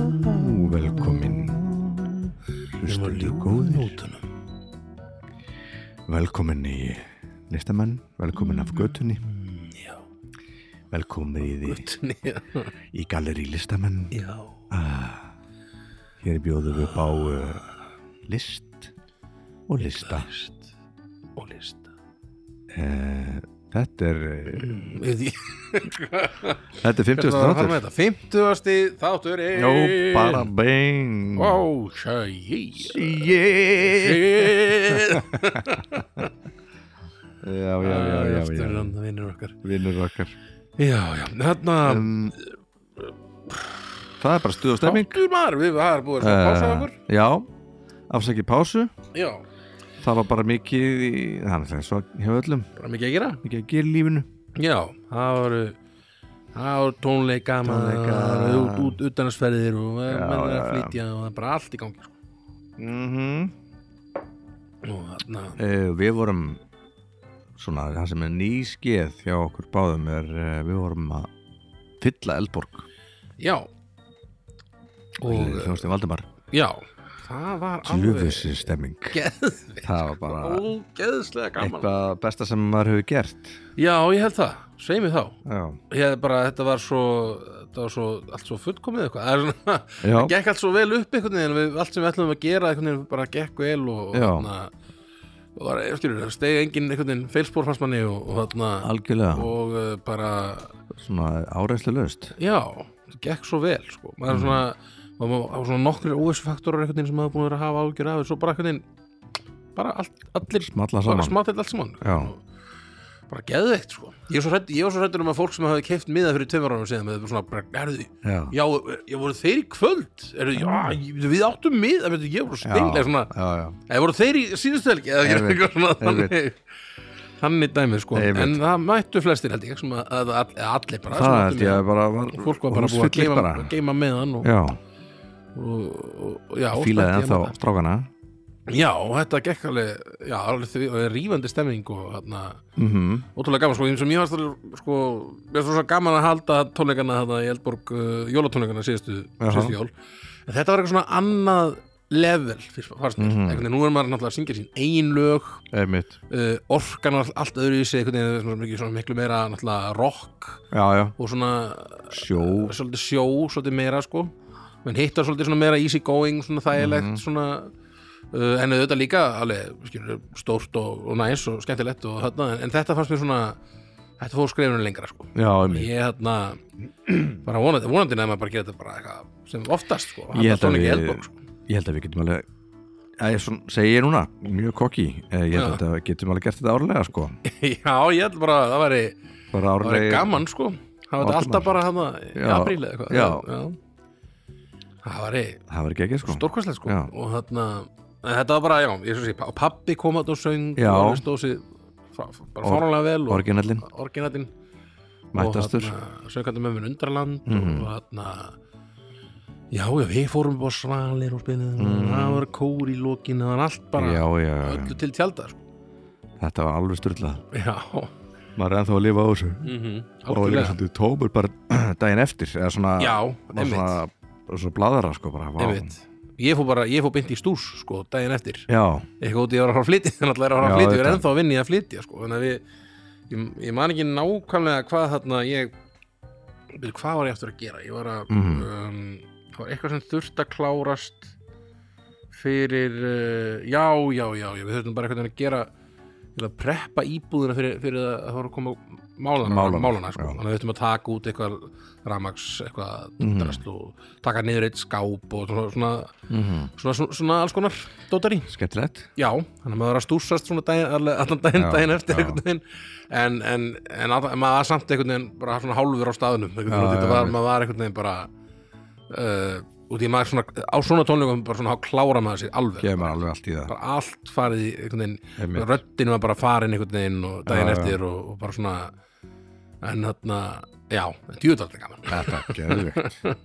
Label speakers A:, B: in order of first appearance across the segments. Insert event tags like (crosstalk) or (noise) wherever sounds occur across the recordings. A: og velkomin Hlustendur góðir
B: nótunum
A: Velkomin í listamenn Velkomin af götunni
B: Já,
A: Velkomin í, því-
B: nótunni Já,
A: í galleri listamenn
B: (laughs)
A: Ah,
B: já,
A: Hér bjóðum við upp á uh, list og lista
B: list og lista
A: uh, Þetta er uh,
B: Mm, Við því
A: Þetta er 50.
B: Það var
A: þáttur
B: með þetta 50. þáttur er
A: Jó, bara beng
B: Ó, sjæ
A: Yeah
B: Já,
A: (laughs) Já, já, já, já,
B: Eftir
A: já.
B: hann vinnur okkar
A: Vinnur okkar
B: Já, já, þarna
A: um, Það er bara stuð og stemming
B: Áttur maður, við það er búið að uh, pása okkur
A: Eh, Já, afsækið pásu
B: Já,
A: Það var bara mikið í, það er náttúrulega svo hjá öllum,
B: bara mikið að gera
A: mikið að gera í lífinu
B: Já, það voru Það voru tónleika,
A: Tónleika.
B: maður, út, út, utanarsferðir og menn er
A: já,
B: að
A: já.
B: flytja og það er bara allt í gangi sko.
A: mm -hmm.
B: Mhm. og þarna,
A: Eh, Við vorum svona, það sem er nýskeið hjá okkur báðum er eh, við vorum að fylla Eldborg
B: já og
A: Þjóðstin Valdimar
B: já, það var alveg
A: Ljöfussi stemming
B: geðveikt,
A: Það var bara
B: ógeðslega gaman
A: eitthvað besta sem maður hefur gert
B: já, ég held það, segi mig þá
A: Já,
B: ég hef bara, þetta var svo þetta var svo, allt svo fullkomið eitthvað það er svona,
A: já,
B: það gekk allt svo vel upp einhvern veginn við, allt sem við ætlum að gera einhvern veginn bara gekk vel og, og
A: Já.
B: þarna og var, ég skilur, það stegi engin einhvern veginn feilspór fannst manni og, og þarna
A: algjörlega
B: og uh, bara,
A: Svona áreislu löst
B: já, það gekk svo vel sko, maður er svona og maður á svona nokkur óvissfaktorar einhvern veginn sem maður er búin að vera að hafa ágjur af en svo bara einhvern veginn bara allt, allir
A: Smalla
B: bara
A: saman
B: smátt allt saman
A: Já.
B: og bara geðveikt sko ég var svo hrædd- ég var svo hrættur um að fólk sem hafði keift miða fyrir tveimur árum síðan með svona, bara, herðu,
A: Já,
B: já, ég voru þeir í kvöld er, já, ég- við áttum miða veitu, ég voru stenglega svona
A: já, já
B: eða voru þeir í síðustelgi eða
A: Einmitt,
B: gerðu eitthvað svona
A: einmitt.
B: þannig þannig dæmi sko
A: Einmitt.
B: en það mættu flestir held ég sem að, að, að, að allir bara sem
A: Það
B: áttu
A: held ég
B: miða.
A: að bara var
B: fólk var bara búið að
A: fyllir
B: geima,
A: bara.
B: geima meðan og,
A: Já,
B: og, og, og já,
A: fílaði
B: spennt í
A: ennþá
B: hana.
A: strákana
B: já, og þetta gekk alveg, já, alveg því, og rífandi stemming og þarna,
A: mm
B: ótrúlega gaman sko, eins og mér varst alveg sko, mér varst svo gaman að halda tónleikana þarna í Eldborg, uh, jólatónleikana síðustu,
A: Jaha.
B: síðustu jól en þetta var eitthvað svona annað level fyrst, fannst mér,
A: Mhm.
B: mm -hmm. nú er maður náttúrulega að syngja sín ein lög
A: Einmitt
B: uh, orkan var allt öðru í sig einhvern veginn, svona, mikið, svona miklu meira náttúrulega rock
A: Já, já,
B: og svona
A: sjó
B: uh, svolítið sjó, svolítið meira sko menn hittar svolítið svona meira easy going svona þægilegt
A: Mhm.
B: svona uh, en auðvitað líka alveg skilur, stórt og, og næs og skemmtilegt og, þarna, en, en þetta fannst mér svona þetta fór skrifinu lengra sko
A: Já, einmitt
B: ég hérna (clears throat) bara vonandi, vonandi nefn að bara gera þetta bara eitthvað sem oftast sko,
A: Ég held að
B: tónleika í
A: við-
B: Eldborg, sko. (laughs)
A: Ég held að við getum alveg að ég svona, segi ég núna, mjög kokki ég held
B: Já.
A: að við getum alveg gert þetta árlega sko
B: já, ég held bara að það væri
A: bara
B: Það var
A: árlega
B: gaman sko Það var þetta
A: Valdimar.
B: alltaf bara hana í
A: Já.
B: apríl eða eitthvað
A: Já.
B: Það var
A: það var ekki ekki sko
B: stórkvæslega sko
A: Já.
B: Og þarna en Þetta var bara, já, ég svo sé Og pabbi kom að og söng
A: Já.
B: Og alveg stóð sér frá- frá- bara
A: Or-
B: fáránlega vel og
A: orginallin,
B: Orginatinn
A: mættastur
B: Söngandi með mér undraland
A: Mhm.
B: um Og þarna Já, já, við fórum bara svalir og spilum
A: Mhm.
B: Það var kór í lokin Það var allt bara
A: já, já, já,
B: öllu til tjaldar sko.
A: þetta var alveg styrlað
B: Já,
A: maður er ennþá að lifa á þessu
B: mm -hmm.
A: og var líka svolítið tómur bara (clears throat) daginn eftir eða svona,
B: Já,
A: var
B: einmitt
A: svona, svona bladara sko bara vá.
B: Einmitt. Ég fór bara, ég fór beint í stús sko, daginn eftir,
A: Já,
B: eitthvað út í að fara að flytja (laughs) þannig að er að fara
A: Já,
B: að flytja, ég er
A: þetta.
B: ennþá að vinna í að flytja sko, þannig að við, ég, ég man ekki nákvæmlega hvað þarna ég byrju, hvað var ég eftir að gera ég var að,
A: Mhm.
B: um, það var eitthvað sem þurft að klárast fyrir uh, já, já, já, já, við þurftum bara eitthvað að gera til að preppa íbúðina fyrir, fyrir að það voru að koma málana,
A: Málana,
B: málana, málana sko.
A: já.
B: þannig að við þurftum að taka út eitthvað ramags, eitthvað
A: Mhm.
B: drast og taka niður eitt skáp og svona, svona
A: mm
B: svona, svona, svona alls konar dótari
A: skemmtilegt
B: já, þannig að maður var að stúsast svona daginn, alveg allan daginn,
A: Já,
B: daginn eftir
A: já.
B: einhvern veginn en, en, en að, maður var samt einhvern veginn bara svona hálfur á staðnum einhvern veginn,
A: Já,
B: og þetta
A: já,
B: var,
A: einmitt.
B: maður var einhvern veginn bara uh, út í maður svona á svona tónleikum bara svona klára maður sér alveg
A: kemur alveg allt í það
B: bara allt farið í einhvern veginn
A: Einmitt.
B: röddin var bara farin einhvern veginn og daginn
A: Já, já.
B: eftir og, og bara svona en þarna, já, djúðaldið gaman
A: Þetta er
B: (laughs)
A: geðvikt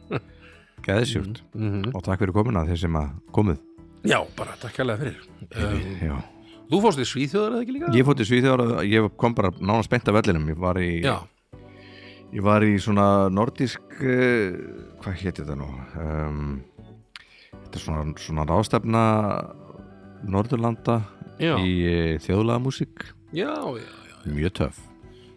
A: Geðsjúkt
B: mm -hmm.
A: Og takk fyrir komuna þeir sem að komuð
B: já, bara takk hérlega fyrir um,
A: Já.
B: þú fórst í Svíþjóðar eða ekki líka?
A: Ég fótt í Svíþjóðar og ég kom bara nánast beint af vellinum Ég var í,
B: já,
A: eh, ég var í svona nordísk uh, Hvað héti þetta nú? Um, þetta er svona, svona ráðstefna Norðurlanda
B: já,
A: í þjóðlega músík
B: já, já
A: mjög töf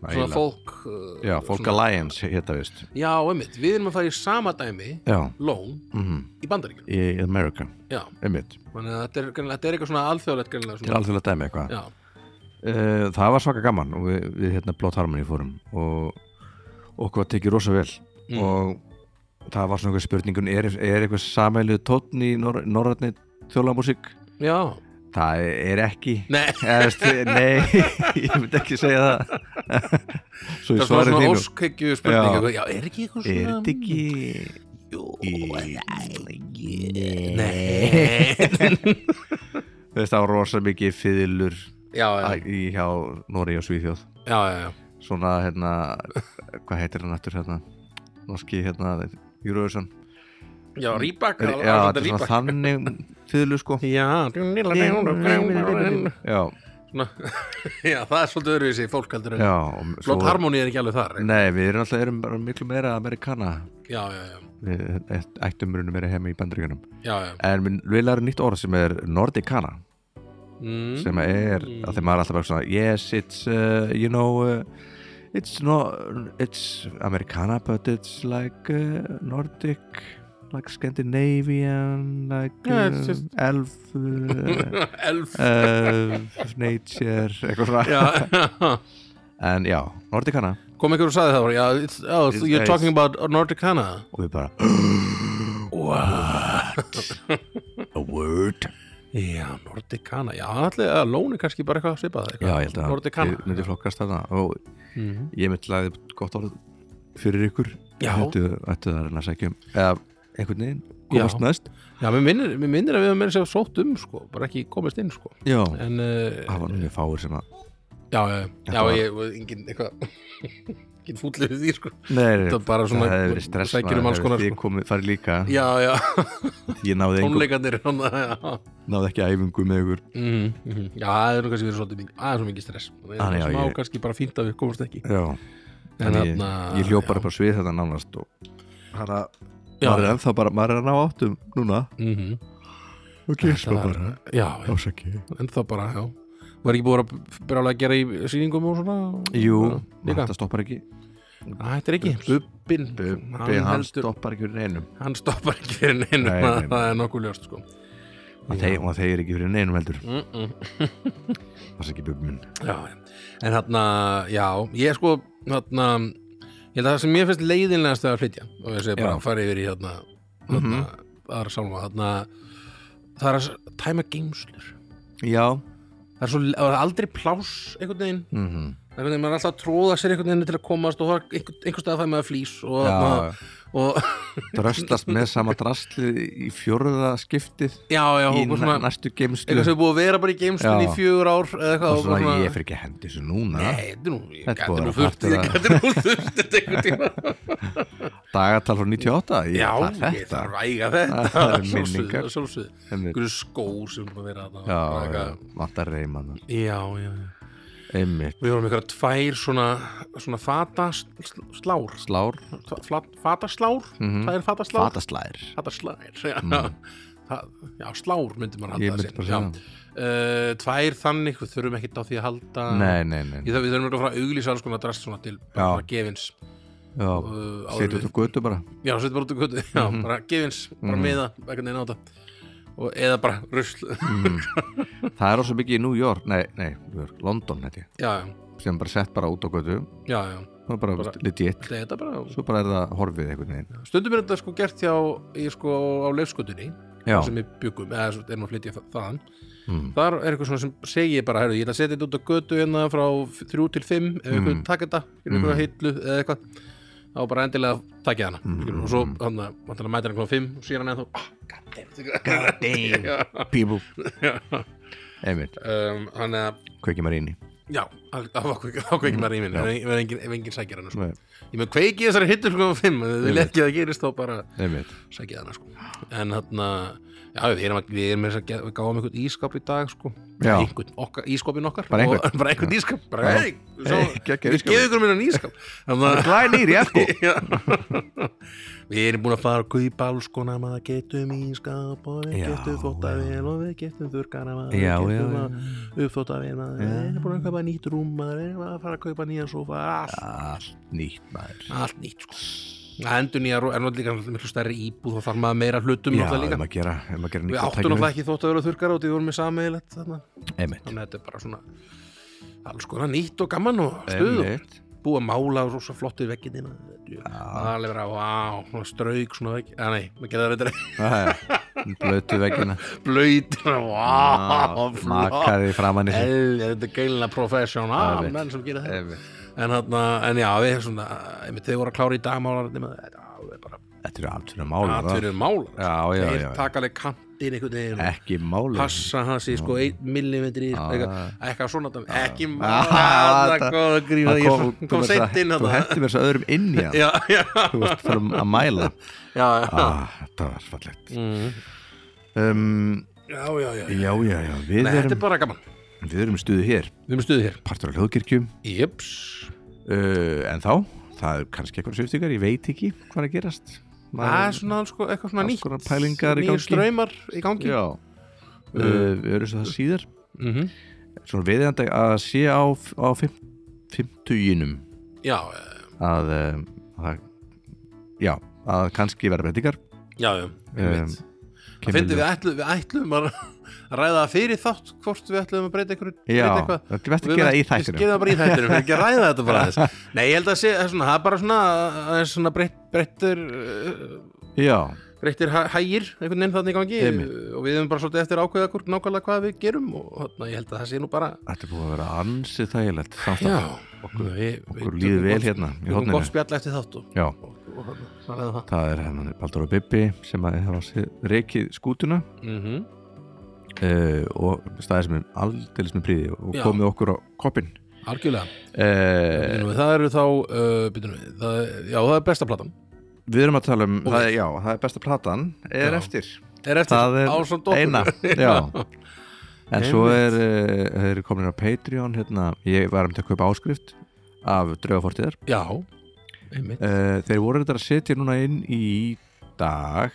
B: svona fólk uh,
A: já, Folk
B: svona,
A: Alliance hétta vist
B: já, einmitt, við erum að fara í sama dæmi
A: já,
B: lón
A: mhm,
B: í bandaríkjunum
A: í America
B: já,
A: einmitt,
B: þannig að þetta er, greinilega- þetta er eitthvað svona alþjóðlegt greinilega
A: til
B: svona,
A: alþjóðlega dæmi eitthvað
B: já,
A: Eh, það var svaka gaman og við, við hérna Blótt Harmony fórum og okkur var tekið rosa vel
B: Mm.
A: og það var svona einhver spurningun er, er eitthvað samælið tónn í nor norrætni þjólamúsík?
B: já,
A: Það er ekki
B: nei
A: Eðast, nei,
B: (laughs)
A: ég myndi ekki segja það
B: það
A: svo ég
B: er svona
A: svarið
B: svona
A: þínu
B: óskhyggju
A: Já.
B: spurning já. já, er ekki eitthvað
A: er
B: svona
A: þetta ekki
B: Jú,
A: í-
B: nei
A: Þú veist, það var rosa mikið fyðilur
B: já, já,
A: í hjá Nóri og Svíþjóð
B: já, já, já.
A: svona hérna hvað heitir hann aftur hérna norski hérna Júruðsson
B: já Rýbak
A: já, þetta Mm. er svona þannig fyðlu sko
B: já
A: já,
B: hérna. Svona, (laughs) já, það er svolítið öðruvísi fólk heldur en
A: já og svo- Mm.
B: Blótt harmóni er ekki alveg þar já,
A: nei, við erum alltaf erum bara miklu meira amerikana
B: já, já,
A: við ættum runum meira heima í bandaríkunum
B: já, já.
A: en minn- við lærum nýtt orð sem er nordicana
B: Mm.
A: sem er, að þeim maður er alltaf bara svona yes, it's, uh, you know uh, it's not, it's Americana, but it's like uh, Nordic like Scandinavian like
B: Yeah,
A: uh,
B: it's just-
A: elf uh,
B: (laughs) elf
A: uh,
B: (laughs)
A: nature, eitthvað svona
B: já, (laughs) já.
A: en já, Nordicana
B: kom einhver og sagði það bara, já, it's, oh,
A: It's-
B: you're
A: it's-
B: talking about Nordicana
A: og við bara, (gasps) a word
B: já, Nordicana, já, allir að lóni kannski bara eitthvað svipað
A: já, ég held að
B: Nordicana
A: þið myndi flokkast þarna og
B: Mhm.
A: ég myndi laði upp gott orð fyrir ykkur
B: Já.
A: ættu, ættu það að reyna að segja um eða einhvern veginn, komast
B: Já.
A: næst
B: já, mér minnir, mér minnir að við höfum meira sér sótt um sko, bara ekki komist inn sko.
A: já,
B: en, uh,
A: það var mjög fáir sem að
B: já, já, já,
A: Ah. Þetta var-
B: ég var engin eitthvað (laughs) engin fúllið við því, sko
A: Nei, nei,
B: Þetta var bara svona-
A: það hefði verið stress
B: sækir um alls konar,
A: Ég
B: sko.
A: komið, farið líka,
B: já, já,
A: ég náði, engum,
B: tónleikarnir svona, já.
A: náði ekki æfingu með ykkur
B: Mm, mm, já, það er nú kannski verið svolítið mikið aðeins og mikið stress það
A: Mhm, Ah,
B: er
A: já,
B: smá
A: ég-
B: kannski bara fínt að við komast ekki
A: Já, en ég,
B: þarna-
A: ég hljóp bara
B: já.
A: upp á svið þetta nánast og hana,
B: Já.
A: maður er ennþá bara, maður er að ná áttum núna
B: Mhm.
A: og gísla
B: Þetta var-
A: sko, bara,
B: já, já.
A: ásaki
B: en þá bara, já var ekki búið að brála að gera í sýningum og svona
A: Jú,
B: líka
A: þetta stoppar ekki
B: Æ, þetta er ekki, bubbin
A: Bubbi, hann
B: heldur-
A: stoppar ekki fyrir neinum
B: hann stoppar ekki fyrir neinu
A: Nei,
B: það,
A: nei, nei.
B: það er nokkuð ljóst sko
A: Hann þegir- og þeir ekki fyrir neinum heldur
B: mm -mm.
A: (laughs) ásaki Bubbi minn
B: já, já. en hann já, ég sko hann ég held að það sem mér finnst leiðinlegast að flytja og ég segi bara
A: Já. Mhm.
B: að fara yfir í hann hann aðra sálma hann það er að tæma geimslur
A: Já,
B: það er svo það er aldrei pláss einhvern veginn
A: mhm,
B: Það er einhvern veginn, maður er alltaf að tróða sér einhvern veginn til að komast og það er einhvern, einhvern stað að fæða maður flýs og,
A: já
B: og, og (laughs)
A: Dröslast með sama drastlið í fjórða skiptið
B: já, já,
A: í
B: og svona
A: næ- næstu geimslu
B: eitthvað sem er búið að vera bara í geimstunni
A: Já.
B: í fjögur ár eða eitthvað
A: og svona, ég fyrir ekki að hendi þessu núna
B: Nei, þetta er nú, ég
A: Þetta er
B: gæti
A: búið
B: nú
A: að vera
B: þurft
A: hart
B: ég
A: að-
B: gæti nú þurft þetta einhvern
A: (laughs)
B: tíma
A: dagatal frá 98 ég,
B: Já,
A: það er
B: ég
A: þetta
B: þarf að æga þetta
A: (laughs) Það eru
B: Sjálfsögðu,
A: minningar.
B: að sjálfsögðu.
A: Einmitt.
B: Einhverju skór sem búið að vera þarna
A: já,
B: bara
A: já,
B: eitthvað-
A: vantar reyman
B: já, já, já
A: einmitt,
B: Við vorum einhverja tvær svona, svona fata slár
A: slár,
B: Fata slár,
A: Mhm.
B: það er fata slár
A: fataslæðir
B: Þetta er slær já. (laughs) Það- já, slár myndi maður halda
A: Mm. Ég
B: það
A: myndi
B: sinn,
A: bara
B: já.
A: segja
B: uh, Tvær þannig, við þurfum ekkert á því að halda
A: nei, nei, nei,
B: Ég þarf, Við þurfum ekki að fara að auglýsa alls konar drast svona til bara
A: Já.
B: svona gefins
A: já
B: uh, áður
A: setja út
B: við-
A: á götu bara
B: Já, setjum bara út á kvöldu (laughs) Já,
A: Mhm.
B: bara gefins, bara miða, ekkert neina á þetta Og eða bara rusl (laughs)
A: Mhm. það er ásvo mikið í New York, nei, nei, New York, London heiti,
B: Já, já,
A: sem bara sett bara út á götu
B: já, já
A: það er bara,
B: Bara-
A: legit,
B: Þetta er þetta bara
A: svo bara er það horfið einhvern veginn,
B: Stundum er þetta sko gert hjá í sko á leifskutunni
A: já,
B: sem við byggum, eða svo erum að flytja þa- þaðan
A: Mm.
B: þar er eitthvað svona sem segi ég bara herrðu, ég ætla að setja þetta út á götu hérna frá f- þrjú til fimm, ef mm.
A: Mhm.
B: ykkur taka þetta ef ykkur mm. hillu eða eitthvað þá bara endilega takja hana mm.
A: Mhm.
B: og svo hann að mæta hann klá fimm og síðan "Ah, eða þá (laughs)
A: god damn people einmitt,
B: um, hann að
A: kveikið maður inn í
B: já, al- á kveikir maður í minn
A: Já.
B: ef engin, ef engin sækir hana sko.
A: Nei,
B: ég með kveiki í þessari hittu sko um fimm ef þið vil
A: Einmitt.
B: ekki að það gerist þá bara
A: einmitt
B: sækið hana sko. en þarna já, við erum, að- við erum með þess að ge- við gáum einhvern ískap í dag sko.
A: Já.
B: einhvern okkar, ískapin okkar
A: Bara einhvern.
B: og, bara einhvern ískap bara,
A: Já.
B: hey,
A: Hey,
B: svo,
A: geggjaður
B: við
A: ísskápur.
B: gefum ykkur minna ískap þannig að
A: Glænýr, já, sko
B: Já. við erum búin að fara að kaupa alls konar maður getum ískap og við
A: Já,
B: getum þóttavél og við getum þurrkana maður
A: Já,
B: við
A: já,
B: getum
A: já.
B: að uppþóttavél maður við erum búin að kaupa nýtt rúm maður við erum að fara að kaupa nýjan sofa allt,
A: Allt nýtt maður
B: allt nýtt sko Það endur nýja rú- er náttúrulega líka miklu stærri íbúð þá þarf maður meira hlutum
A: Já,
B: náttúrulega
A: um
B: líka
A: að gera, um að gera
B: við
A: nýtt
B: áttum náttúrulega ekki þótt að vera þurrkar átt við vorum með sameigilegt þarna
A: Einmitt
B: þannig að þetta er bara svona alls konar nýtt og gaman og stuð og
A: Einmitt
B: búið að mála og svo flottir veggindina það er alveg verið að, vá, svona strauk svona vegg, eða nei, maður getur þetta (laughs) reyndar
A: Það er Blötu veggina
B: (laughs) blöyt, vá,
A: Ah,
B: flott
A: Makaði framan í sig
B: El, þetta er gælina professional
A: Einmitt.
B: menn sem gera þetta
A: Einmitt.
B: en, hana, en já, við svona, einmitt, þið voru að klára í dag málar þetta er alveg bara
A: Þetta eru atvinnum málar það.
B: atverjum málar
A: Já, já,
B: þeir
A: já, já
B: taka alveg kantinn einhvern veginn og
A: Ekki málar
B: passa hans í sko 1 millimetri sko, eitthvað eitthvað svona dæmi. ekki
A: Ah,
B: málar,
A: þetta-
B: það grína ég
A: kom,
B: kom- kom seint inn
A: Þú
B: þarna.
A: hendur mér svo öðrum inn í hann
B: já, já,
A: Þú veist, þurfum að mæla
B: já, (laughs) já
A: ah, Það var fallegt
B: Mm.
A: um,
B: já, já, já
A: Já, já, já Við
B: Nei, þetta
A: erum,
B: er bara gaman
A: við erum í stuði hér
B: Við erum stuðið hér
A: Partur á hljóðkirkjum
B: Jöps
A: uh, En þá, það er kannski eitthvað sviftingar Ég veit ekki hvað er að gerast
B: Það er svona alls sko- eitthvað svona
A: Alls
B: nýtt
A: konar pælingar í
B: Nýjir
A: gangi.
B: ströymar í gangi
A: Já uh, Við erum svo það síðar
B: mm
A: Mhm. Svona viðjandi að sé á, á fimm, fimmtuginum
B: já, eh,
A: að, um, að það- Já, að kannski vera breytingar
B: já, já einmitt. Það finnum við ætlum, við ætlum að (laughs) að ræða það fyrir þátt hvort við ætlum að breyta einhverju
A: Já,
B: breyta eitthvað.
A: þetta er best
B: Við
A: að gera
B: verðum-
A: í
B: Við
A: þættinu
B: gerum það bara í þættinum, við erum ekki að ræða þetta bara aðeins
A: (laughs)
B: Nei, ég held að sé, það er svona, það er bara svona, það er svona breytt, breyttur, eh,
A: Já,
B: breyttir hæ- hægir einhvern veginn þannig í gangi
A: Einmitt.
B: og við erum bara svolítið eftir að ákveða hvort nákvæmlega hvað við gerum og þarna, ég held að það sé nú bara
A: þetta er búið að vera ansið þægilegt
B: Já,
A: samstæð
B: okkur, við,
A: Okkur líður vel hérna í
B: Við erum
A: horninu.
B: gott spjall eftir þátt og,
A: Já,
B: og, og, og það er það
A: það er hennan Baldur og Bibbi sem að hafa sé- rekið skútuna
B: mm
A: Mhm. uh, og staðið sem er aldeilis með príði og
B: Já.
A: komið okkur á koppin
B: Algjörlega,
A: uh,
B: uh, það eru þá, uh, byrjum við, það, já það er besta platan
A: Við erum að tala um,
B: Og-
A: það er, já, það er besta platan er
B: Já.
A: eftir
B: Er eftir
A: Það er
B: ásamt okkur. (laughs)
A: eina, já. En svo er, uh, er komin á Patreon hérna, ég var um til að kaupa áskrift af draugafortiðar
B: Já, einmitt
A: uh, Þeir voru þetta að setja núna inn í dag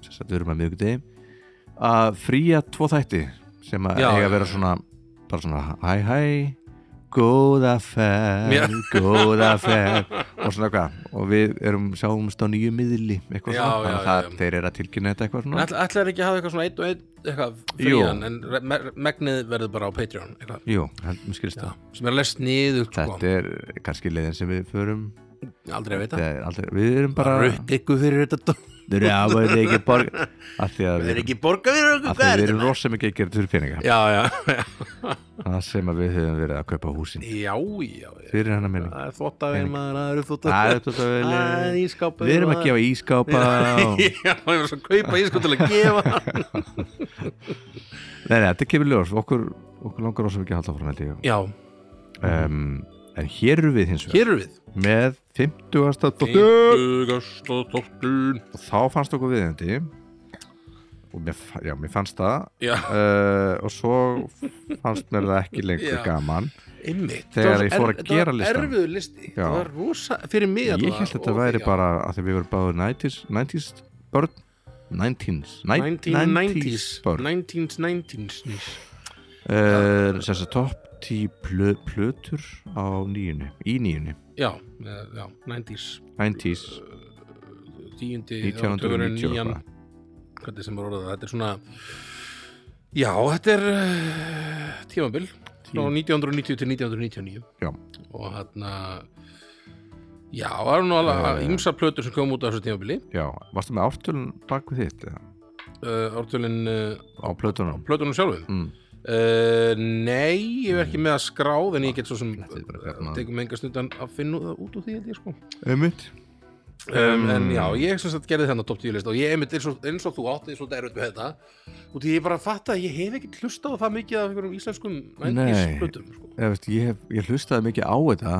A: sem sagt við erum að miðvikudegi að fría tvo þætti sem að
B: Já, já,
A: eiga að vera
B: já.
A: svona bara svona hæ hæ góða
B: Já.
A: ferð, góða ferð og svona eitthvað og við erum sjáumst á nýju miðli eitthvað
B: Já,
A: svona,
B: já,
A: þannig að það,
B: já, já.
A: þeir eru að tilkynna þetta eitthvað svona
B: Ætla, ætlar ekki að hafa eitthvað svona eitt og eitt eitthvað
A: Jú.
B: frían en re- me- megnið verður bara á Patreon eitthvað,
A: Jú, heldum skilst
B: já,
A: það
B: sem er að lesa niður sko,
A: Þetta er kannski leiðin sem við förum
B: aldrei að
A: Þetta
B: veita
A: er aldrei, Við erum bara
B: rutt ykkur fyrir þetta
A: Þeir eru ekki borga af því að
B: það
A: við
B: er
A: erum,
B: ekki borga fyrir
A: af
B: okkur
A: því að
B: hvað
A: við
B: er
A: erum
B: þetta
A: rosa mikið að gera þetta fyrir peninga
B: já, já,
A: Það sem að við höfum verið að kaupa húsin
B: já, já, já
A: Fyrir hennar minni
B: það er þvóttavegin maður, það eru
A: Það er
B: þvóttavegin
A: þetta vel
B: það er ískápa
A: Við erum að gefa ískápa og-
B: (laughs) já, við erum svo að kaupa ískáp til að gefa
A: (laughs) Nei, nei, þetta kemur ljós Okkur, okkur langar rosa mikið að halda frá með
B: já,
A: um, En hér eru við hins vegar
B: hér eru við
A: Með 50. dottur
B: Fimmtugastóttun
A: Og þá fannst okkur viðendi Og mér, fa- já, mér fannst það
B: já,
A: uh, og svo fannst mér það ekki lengur
B: Já.
A: gaman
B: einmitt
A: Þegar
B: Það
A: ég fór að
B: er- það
A: gera
B: var
A: listan.
B: erfiður listi,
A: Já.
B: það var rosa fyrir mig
A: ég
B: allavega,
A: held þetta
B: og-
A: væri
B: já.
A: bara að því við vorum báður 90s, 90s börn 90s,
B: 1990s
A: 90s börn
B: 1990s
A: uh, sem þess að topp 10 plö, plötur á nýjunni í nýjunni,
B: já, eh, já, 90s
A: 90s
B: tíundi,
A: 1990 og
B: nýjan
A: eitthvað.
B: hvernig sem er orðað, þetta er svona já, þetta er eh, tímabil frá 1990 til 1999
A: Já.
B: og hérna já, það eru nú
A: Já, já.
B: alveg ymsa plötur sem kom út á þessu tímabili
A: já, varstu með ártölun bak við þitt eða?
B: uh, ártölin uh,
A: á plötunum
B: plötunum sjálfum
A: mm.
B: Uh, nei, ég er ekki með að skráð en ég get svo sem hérna.
A: Þetta er bara gaman.
B: tekum enga stundan að finna það út úr því held ég sko
A: einmitt
B: um, en já, ég sem sagt gerði þennan top 10 list og ég einmitt eins og, eins og þú átti eins og derut með þetta og því ég bara fatt að ég hef ekki hlustað á það mikið af einhverjum íslenskum
A: Nei.
B: íslutum sko.
A: ég, veist, ég, hef- ég hlustaði mikið á þetta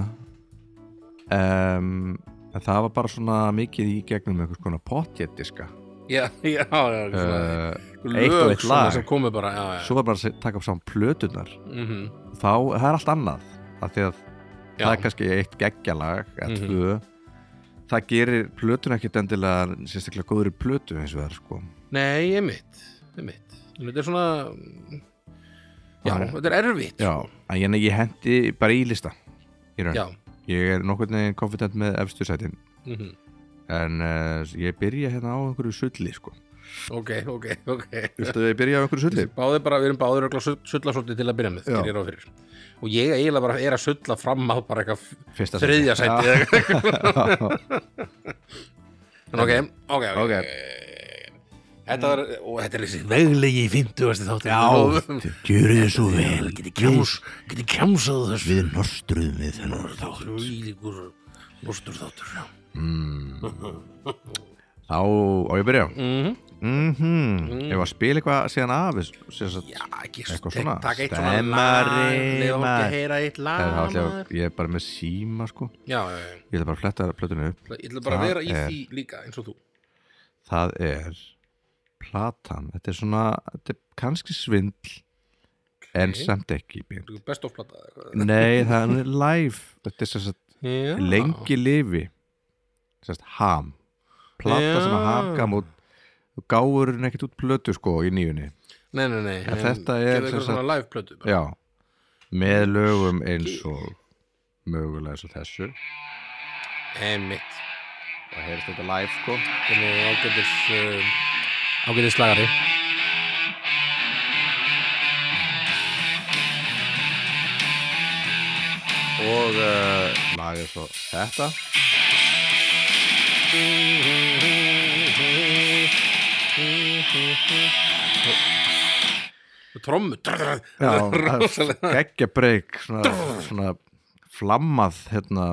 A: um, en það var bara svona mikið í gegnum einhvers konar potjettiska
B: já, (laughs) já, já, já
A: uh, eitt og
B: lög
A: eitt
B: svona
A: lag.
B: sem komu bara já, já,
A: svo var bara að se- taka upp saman plötunar
B: mhm,
A: þá, það er allt annað af því að
B: já.
A: það er kannski eitt geggjalag eða
B: Mhm.
A: tvö það gerir plötun ekkert endilega sérstaklega góður plötu eins og það sko
B: nei, einmitt, einmitt En þetta er svona já,
A: Það er-
B: þetta er erfitt
A: já, en Sko, ég, ég hendi bara í lista í raun.
B: já,
A: ég er nokkurn veginn konfident með efstu sætin
B: mhm,
A: en uh, ég byrja hérna á einhverju sulli sko
B: ok, ok, ok
A: Viltu að ég byrja á einhverju sulli?
B: Báðir bara, við erum báðir örugglega að sulla svolítið til að byrja með,
A: Já.
B: gerir ég ráð fyrir. Og ég eiginlega bara er að sulla fram að bara eitthvað
A: Fyrsta
B: þriðja sæti eða eitthvað.
A: sæti
B: En ok, ok, ok.
A: Ok.
B: Þetta var, og þetta er þessi veglegi í 50. þáttir.
A: Gjöru þið svo vel
B: Getið kjáms, getið kjámsað þessu.
A: Við nostruðum við þennan
B: Þáttur, ílíkur, lústur þáttur, já.
A: Þá, á ég að byrja
B: Mhm.
A: mm Ég var að spila eitthvað síðan af þess-
B: Já, ekki,
A: Eitthvað
B: tek-
A: svona.
B: taka eitt svona lag,
A: Stemmari,
B: lefa okkur
A: maður.
B: að heyra eitt lag,
A: Það er
B: maður.
A: alltaf, ég er bara með síma sko
B: Já, já, já.
A: Ég ætla bara að fletta plötunni upp
B: Ég ætla bara að
A: Það
B: vera í
A: er-
B: því líka, eins og þú.
A: Það er platan Þetta er svona, þetta er kannski svindl En samt ekki beint.
B: Þetta er Best of plata. eða eitthvað.
A: Nei, það er hún er live Þetta er sem sagt
B: Já.
A: lengi lifi sem sagt ham Plata sem að ham
B: Já.
A: gam út Gáur hún ekkert út plötu sko í nýjunni
B: Nei, nei, nei
A: En þetta er
B: Gerðu
A: sem
B: eitthvað svona live plötu bara.
A: Já Með lögum eins og mögulega eins og þessu og
B: Einmitt
A: heyrist þetta live sko
B: Þetta er nú ágætis uh, Ágætis slagari
A: og uh, lagið svo þetta
B: Trommu drrrr. (laughs) Þetta er rosalega.
A: Já, geggja breyk svona, svona flammað hérna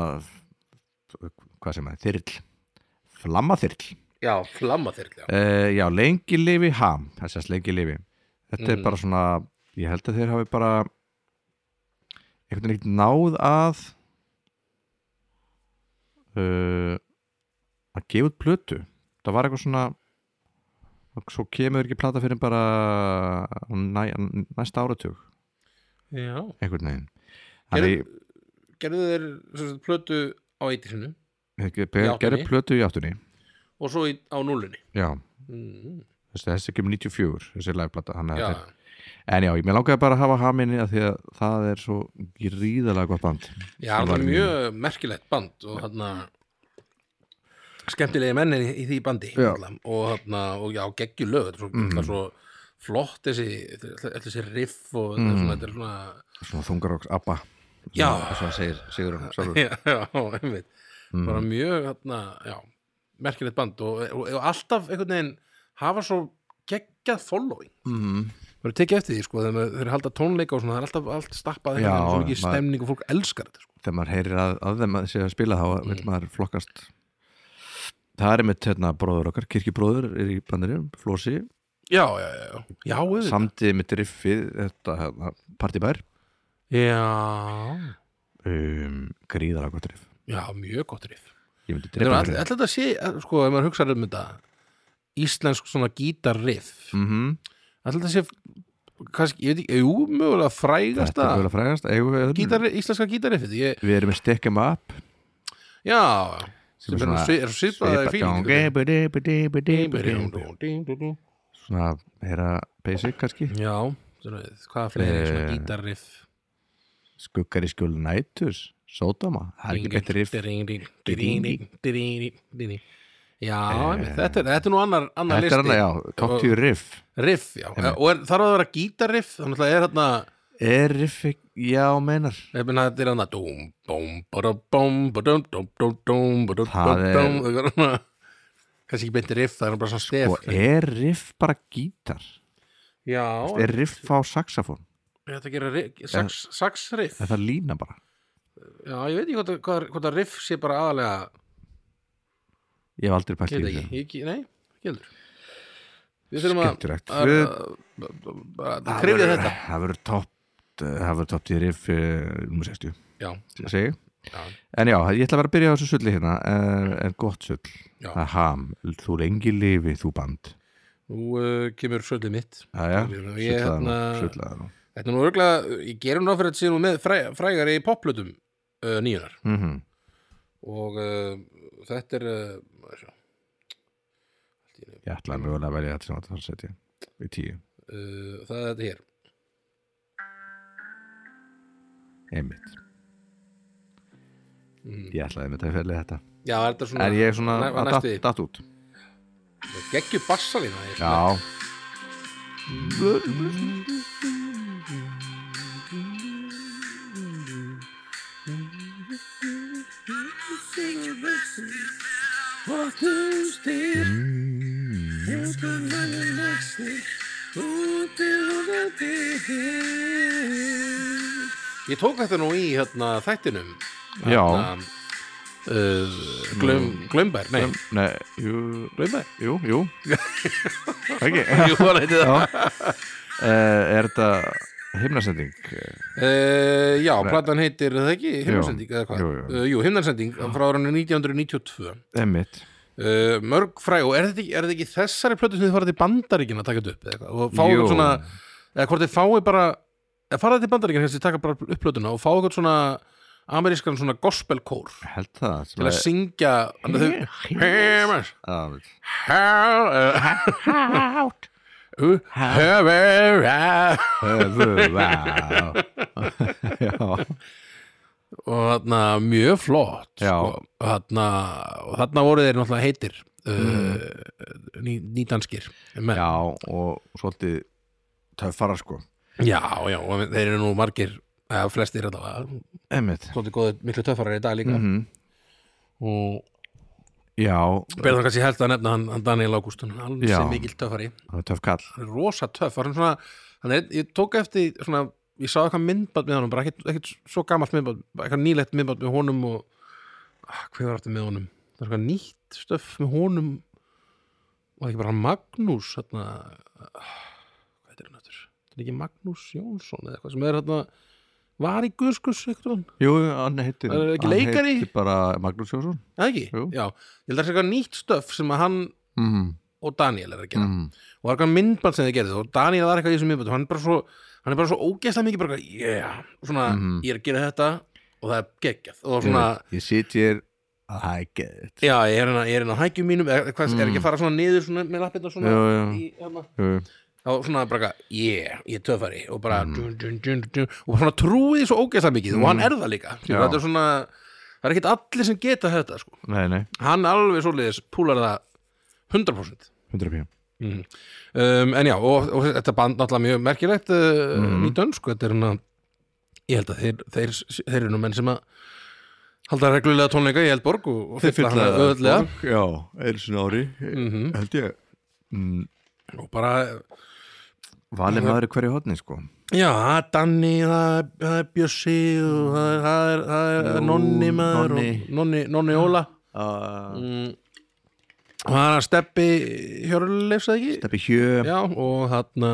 A: hvað sem að þyrl flammaþyrl
B: Já, flamma þeir já.
A: Uh, já, lengi lifi ham það sést lengi lifi þetta
B: Mm.
A: er bara svona, ég held að þeir hafi bara einhvern veginn náð að uh, að gefa út plötu það var eitthvað svona og svo kemur ekki plata fyrir bara á næ, næsta áratug
B: já
A: einhvern veginn
B: Gerðu-
A: Þannig,
B: Gerðu þeir sem sagt, plötu á eittisinu
A: gerðu
B: í
A: gerðu
B: áttunni?
A: plötu í áttunni
B: Og svo í, á núlunni
A: já,
B: mm.
A: þessi, þessi kemur 94 þessi lagplata, þannig að
B: Já,
A: þetta er En já, mér langaði bara að hafa haminni að því að það er svo gríðalega gott band
B: já það
A: var
B: er
A: í-
B: mjög merkilegt band Og hann Skemmtilegi menn er í, í því bandi
A: Já.
B: náttúrulega. Og hann Og já, geggju lög Þetta er svo, mm. svo flott þessi, þessi, þessi riff og þetta er svona, þetta er svona (laughs)
A: Svona þungaróks abba
B: Já.
A: Svona segir Sigurinn sjálfur Mhm.
B: já, já, einmitt bara mjög, hérna, já merkilegt band og, og, og alltaf einhvern veginn hafa svo geggjað following
A: mm.
B: maður er tekið eftir því, sko, þegar maður- þeir halda tónleika og svona, það er alltaf allt stappað einhvern
A: Já,
B: veginn, svo mikið
A: maður-
B: stemning og fólk elskar þetta, sko
A: Þegar maður heyrir að, að þeim að sé að spila þá
B: Mm.
A: vil maður flokkast Það er einmitt hérna bróður okkar, kirkjubróður er í bandinu, Flósi
B: já, já, já, já, já, auðvitað.
A: Samtið mitt riffið, þetta hérna, partibær
B: já,
A: um, Gríðalega gott riff
B: já, mjög gott riff
A: Ég myndi
B: þetta er
A: drepa
B: all-
A: fyrir
B: alltaf þetta sé, sko, ef maður hugsaður um þetta íslensk svona gítarriff
A: mm -hmm.
B: alltaf þetta sé kannski, ég veit ekki, jú, mögulega
A: Þetta
B: frægasta
A: er vel að frægast eigum við öðrum?
B: gítar, íslenska gítarriffið, ég
A: Við erum með Stick 'em up
B: Já, sem
A: er
B: er
A: svona-
B: nú svi- er svipaði fíling
A: fíling svona meira basic kannski
B: Já, svona, hvaða fleiri
A: Eh,
B: svona gítarriff
A: skuggar í skjölu næturs sódama, það er ekki betur riff
B: Ding, ding, ding,
A: Ding, Eh.
B: ding, ding, ding, ding, ding, ding. Já, einmitt, þetta er, þetta er nú annar, annar
A: þetta er
B: listi
A: annað, já, top 10 riff
B: Riff, já, og er, þarf að vera gítarriff þannig að er þarna
A: er riff, ekki- já, meinar
B: ég meina, þetta er þarna dúm, búm, bara búm, bara dúm, dúm, dúm, dúm, bara dúm,
A: Það er-
B: dúm, dúm, eitthvað svona. kannski ekki beint riff, það er nú bara svona stef
A: og er riff bara gítar
B: Já,
A: er riff á saxofón,
B: þetta gera ri- sax, sax riff
A: er það lína bara
B: Já, ég veit ekki hvort, að- hvað, hvort að riff sé bara aðalega
A: Ég hef aldrei pælt í
B: Geta
A: þessu
B: ekki, ekki, nei, ekki heldur Við þurfum að-
A: Skemmtilegt
B: að
A: Við-
B: að- bara að
A: það
B: krifja
A: verður-
B: þetta
A: Það verður topp Það verður topp tíðir if um 60
B: Já,
A: segi.
B: já,
A: En já, ég ætla að vera að byrja á þessu sulli hérna En, en gott sull
B: Já.
A: Það er ham, þú lengi lifi þú band
B: nú uh, kemur söllið mitt
A: Æja,
B: Ég- ég
A: sullaði nú
B: hérna-
A: Sullaði nú
B: Þetta er nú örgulega, ég gerum nú fyrir að þetta sé nú með fræ, frægari poplötum uh, nýjunar
A: Mhm.
B: og uh, þetta er uh, maður sjá. Allt í einu.
A: Ég ætla að mögulega að velja þetta sem þetta þarf að setja Í tíu,
B: uh, það er þetta hér
A: einmitt
B: Mhm.
A: Ég ætlaði með þetta að felja þetta
B: Já, er þetta svona,
A: En ég er svona
B: næ,
A: að
B: næstu
A: datt-
B: því
A: datt út
B: Gekkju bassalína ég svona-
A: Já
B: Ég tók þetta nú í hérna þættinum
A: Já, Mm.
B: hérna, uh, glöm, Glömbær, nei,
A: nei, jú
B: Glömbær
A: Jú, jú
B: (laughs)
A: Ekki
B: Jú, hann heiti það
A: Já. Eh, Er þetta himnasending?
B: Uh, já, platan heitir, er það ekki, himnarsending eða hvað?
A: jú,
B: Jú,
A: jú.
B: jú himnarsending frá árunni 1992 uh,
A: Emmitt
B: Eh, Mörg fræg og er þetta ekki, er þetta ekki þessari plötu sem þið farið til bandaríkina að taka þetta upp eða eitthvað og fá
A: Jú.
B: eitthvað svona, eða hvort þið fáið bara eða farið til bandaríkina kannski taka bara upp plötuna og fá eitthvað svona amerískan svona gospelkór
A: Held það sem
B: til að syngja hann að þau Hammers
A: að-
B: eh, Out Hammer Out
A: Höfu, vá. (laughs) Já,
B: og þarna mjög flott
A: Já.
B: sko. og, þarna, og þarna voru þeir náttúrulega heitir uh, ný, nýdanskir menn.
A: Mm. já og svolítið töffara sko
B: já, já, og þeir eru nú margir eða flestir þetta
A: Emmitt
B: svolítið góðið miklu töffarar í dag líka
A: Mhm.
B: og
A: Já,
B: berðan kannski helst að nefna hann, hann Daniel Ágústun hann er
A: Já.
B: alveg mikill töffari
A: það er töff kall
B: hann er rosa töff hann er svona, hann er, ég tók eftir svona, ég sá eitthvað myndband með honum bara ekkert, ekkert svo gamalt myndband bara eitthvað nýlegt myndband með honum og ah, hvað var þetta með honum það er eitthvað nýtt stöf með honum var ekki bara hann Magnús hérna, ah, hvað heitir hann aftur þetta er ekki Magnús Jónsson eða eitthvað sem er hérna var í Guðskus eitthvað
A: Jú, hann heitir
B: Það er ekki
A: hann
B: leikari?
A: heitir bara Magnús Jónsson
B: eða ekki,
A: Jú.
B: já, ég held að það sé eitthvað nýtt stöf sem að hann
A: mm.
B: og Daniel er að gera
A: Mm.
B: og það er eitthvað myndband sem þið gerðið og Daniel var eitthvað í þessum myndband og hann er bara svo hann er bara svo ógeðslega mikið bara eitthvað, yeah, svona
A: Mhm.
B: ég er að gera þetta og það er geggjað og svona,
A: Ég sit hér Ah, að hækja þetta
B: já ég er hérna ég er hérna á hækjum mínum, er, hvað,
A: Mhm.
B: er ekki að fara svona niður svona með lappirna svona
A: Jú, jú.
B: Í, hérna,
A: Jú,
B: og svona bara eitthvað, yeah, ég er töfari og bara
A: Mhm.
B: dun, dun, dun, dun, og svona trúið því svo ógeðslega mikið og hann er það líka
A: Já.
B: þetta er svona, það er ekkit allir sem geta þetta sko.
A: Nei, nei,
B: hann alveg svoleiðis púlar það 100%
A: 100 pjum
B: Mm. Um, en já, og, og þetta band náttúrulega mjög merkilegt uh, mm.
A: Mhm.
B: nýtönsk þetta er hann að ég held að þeir, þeir, þeir eru nú menn sem að halda reglulega tónleika í Eldborg og, og
A: Þeir
B: fylla hana
A: fylla
B: öðlega
A: borg, Já, einu sinni á ári
B: Mhm.
A: Held ég mm,
B: og bara,
A: Valið maður í hverju hodni sko
B: já, það er Danni það er- það er Bjössi og það er, það er, það er, það er
A: Jú,
B: Nonni maður
A: Nonni.
B: og Nonni, Nonni Óla
A: uh,
B: mm. og það er að Steppi Hjörleifs eða ekki?
A: Steppi Hjö
B: Já, og þarna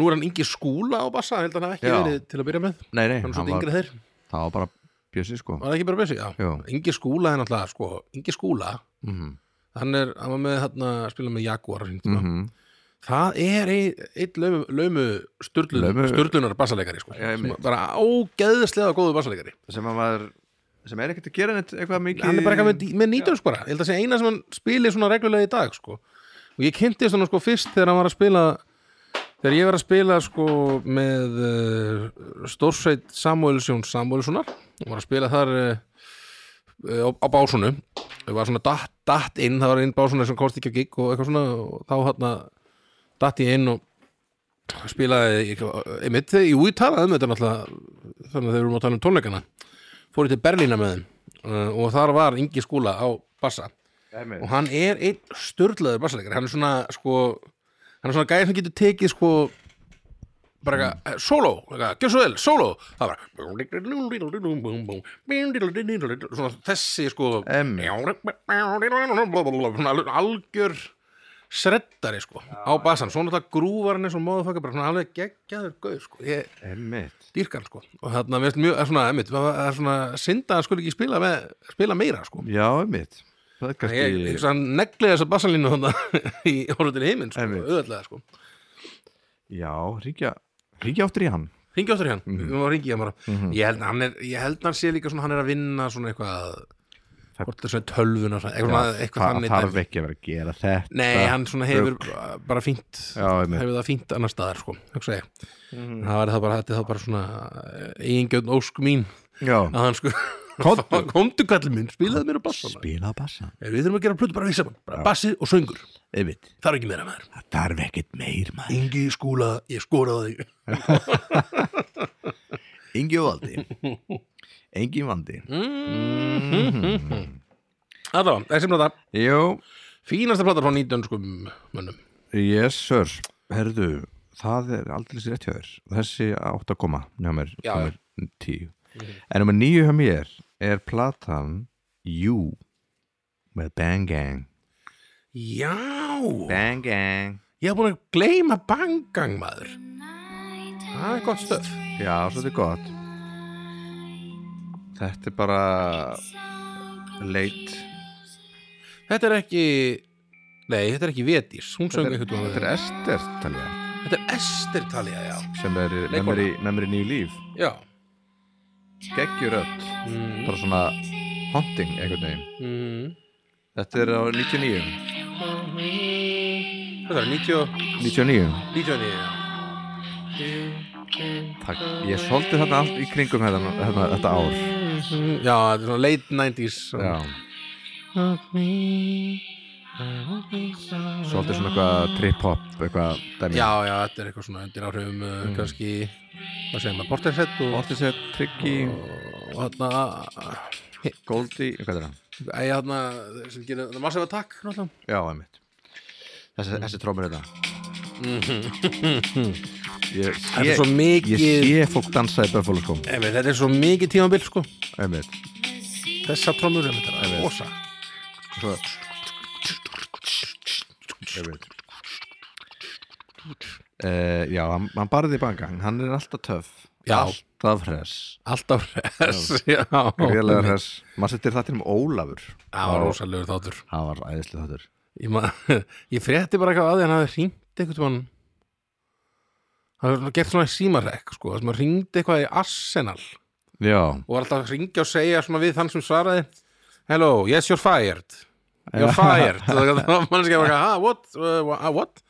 B: nú er hann yngi skúla á bassa, ég held að hann hafi ekki
A: Já.
B: verið til að byrja með
A: Nei, nei,
B: hann er
A: hann
B: svolítið
A: var,
B: yngri þeir
A: það var bara Bjössi sko
B: Var það ekki bara Bessi? Já.
A: Jú.
B: Ingi Skúla er náttúrulega, sko, Ingi Skúla,
A: mm
B: hann er, hann var með hérna, að spila með Jaguar. Mm -hmm.
A: -hmm.
B: Það er ein- einn laumu, laumu, sturlun,
A: Laumu-
B: sturlunar bassaleikari, sko.
A: Já,
B: sem
A: einmitt.
B: bara ógeðslega góðu bassaleikari.
A: Sem að maður sem er ekkert að gera neitt eitthvað mikið
B: Hann er bara eitthvað með, með nýtjönsk bara. Ég held að sé eina sem hann spilir svona reglulega í dag, sko. Og ég kynntist hann, sko, fyrst þegar hann var að spila, þegar ég var að spila, sko, með uh, stórsveit Samuelsson Samuelssonar. Hann var að spila þar... Uh, eh, á, á básunu það var svona datt, datt inn, það var einn básuna sem komst ekki að gig og eitthvað svona og þá hérna datt ég inn og spilaði ég- einmitt þegar, jú ég talaði um þetta náttúrulega þannig að þeir eru að tala um tónleikana fór ég til Berlína með þeim eh, og þar var Ingi Skúla á bassa og hann er einn störlaður bassaleikari hann er svona sko hann er svona gæði sem getur tekið sko bara eitthvað, mm. solo, eitthvað, gjör svo vel, solo það var svona þessi sko
A: Einmitt.
B: svona algjör sreddari sko á basan, svona þetta grúvar hann eins og móðufakar bara svona alveg geggjaður gauð sko ég
A: Emmitt
B: dýrkan sko og þarna veist mjög, er svona, einmitt, það er svona synda að hann skulle ekki spila, með, spila meira sko
A: Já, emmitt Það er
B: ég, ég,
A: kannski
B: hann negliði þessa basanlínu þannig (laughs) í horfður til heiminn sko,
A: Einmitt.
B: auðvitað sko
A: Já, ringja Ringja áttur í hann
B: Ringi áttur í hann,
A: Mhm.
B: við varum að ringi hann bara ég, held, hann er, ég held hann sé líka svona hann er að vinna svona eitthvað
A: Það-
B: hvort er svona tölvun og svona eitthvað,
A: Já,
B: eitthvað
A: Það
B: þannig
A: þarf
B: dæmi.
A: ekki að vera að gera þetta
B: Nei, hann svona hefur bara fínt
A: Já, einmitt.
B: hefur það fínt annar staðar sko, hugsa ég það var það bara, þetta er það bara svona eigingjörn ósk mín
A: Já,
B: að hann sko Komdu, (laughs) komdu kallið minn, spilaði mér á bassana
A: spila á bassa
B: Við þurfum að gera plötu bara við saman bara Bassi og söngur,
A: Emmitt
B: það er ekki meira maður
A: Það þarf ekkert meir maður
B: Ingi skúla, ég skoraði þig
A: Engi valdi
B: (laughs)
A: Engi vandi
B: Mm. Það var, þessi blata,
A: Jú,
B: fínasta plata frá 19 skum mönnum
A: yes sir Herðu, það er aldrei sér rétt hjá þér Þessi átt að koma Njá mér,
B: Já,
A: númer tíu En nummer níu hjá mér er platan You með Bang Gang
B: Já,
A: Bang Gang
B: Ég hef búin að gleyma bangang maður Það er gott stöf
A: Já, svo þetta er gott Þetta er bara leit
B: Þetta er ekki Nei, þetta er ekki Védís Hún söng eitthvað annað.
A: Þetta er Ester talja
B: Þetta er Ester Talía, já
A: sem er
B: Leikkona.
A: nefnir í, nefnir í nýju líf
B: Já
A: geggjurödd bara svona haunting einhvern veginn Mhm.
B: mm.
A: Þetta er á 99
B: Þetta er 90
A: 99
B: 99, já
A: Takk. Ég soldi þarna allt í kringum hérna, hérna, þetta ár
B: Já, þetta er svona late 90s
A: Já. Soldi svona eitthvað trip-hop eitthvað dæmi
B: já, já, þetta er eitthvað svona undir áhrifum uh, kannski, hvað segir maður, Portishead og,
A: Orti sér Triggi
B: og hérna
A: Goldi Hvað er það?
B: Æ, hérna, sem gerir, það er massive attack náttúrulega
A: Já, einmitt Þessi, þessi trómur er það Ég
B: Mhm. Þetta er svo
A: sé, ég
B: mikið
A: sé fólk dansa í Buffalo sko
B: Einmitt, þetta er svo mikið tímabil sko
A: Einmitt
B: Þessa trommur er þetta
A: Einmitt.
B: rosa
A: Svo Einmitt Uh, já, hann, hann barði í bangang, hann er alltaf töff
B: Já.
A: Alltaf hress
B: Alltaf res Já,
A: Gríðarlega hress Maður settir það til um Ólafur
B: Það var rosalegur þáttur
A: Það var æðislega þáttur
B: Ég, ma- (laughs) ég frétti bara eitthvað að því hann hafði hringt eitthvað mann Það var gert svona símarekk sko þar sem maður hringdi eitthvað í Arsenal og
A: Já,
B: var alltaf að hringja og segja svona við þann sem svaraði Hello, yes you're fired You're fired (laughs) Það var mannskja bara ha, what, uh, uh, what?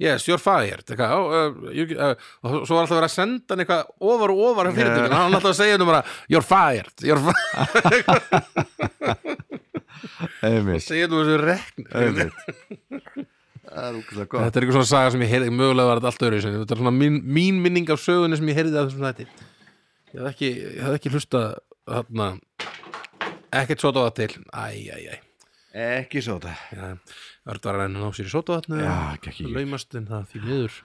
B: Yes, you're fired eitthvað, oh, uh, you, uh, og svo var alltaf að vera að senda hann eitthvað ofar og ofar fyrir þetta, hann var alltaf að segja hann bara You're fired, you're fired
A: einmitt
B: segir þú þessu rekn
A: Einmitt (laughs) Það er úkvæmlega gott
B: Þetta er eitthvað svona saga sem ég heyrði, mögulega var þetta allt öðru þetta er svona mín, mín minning af sögunni sem ég heyrði af þessum þætti Ég hafði ekki, ég hafði ekki hlusta þarna ekkert sótaða til Æ, æ, æ
A: Ekki svo þetta
B: Örd var að reyna að ná sér í sótavatnu
A: Já, ekki ekki
B: Laumast en það því miður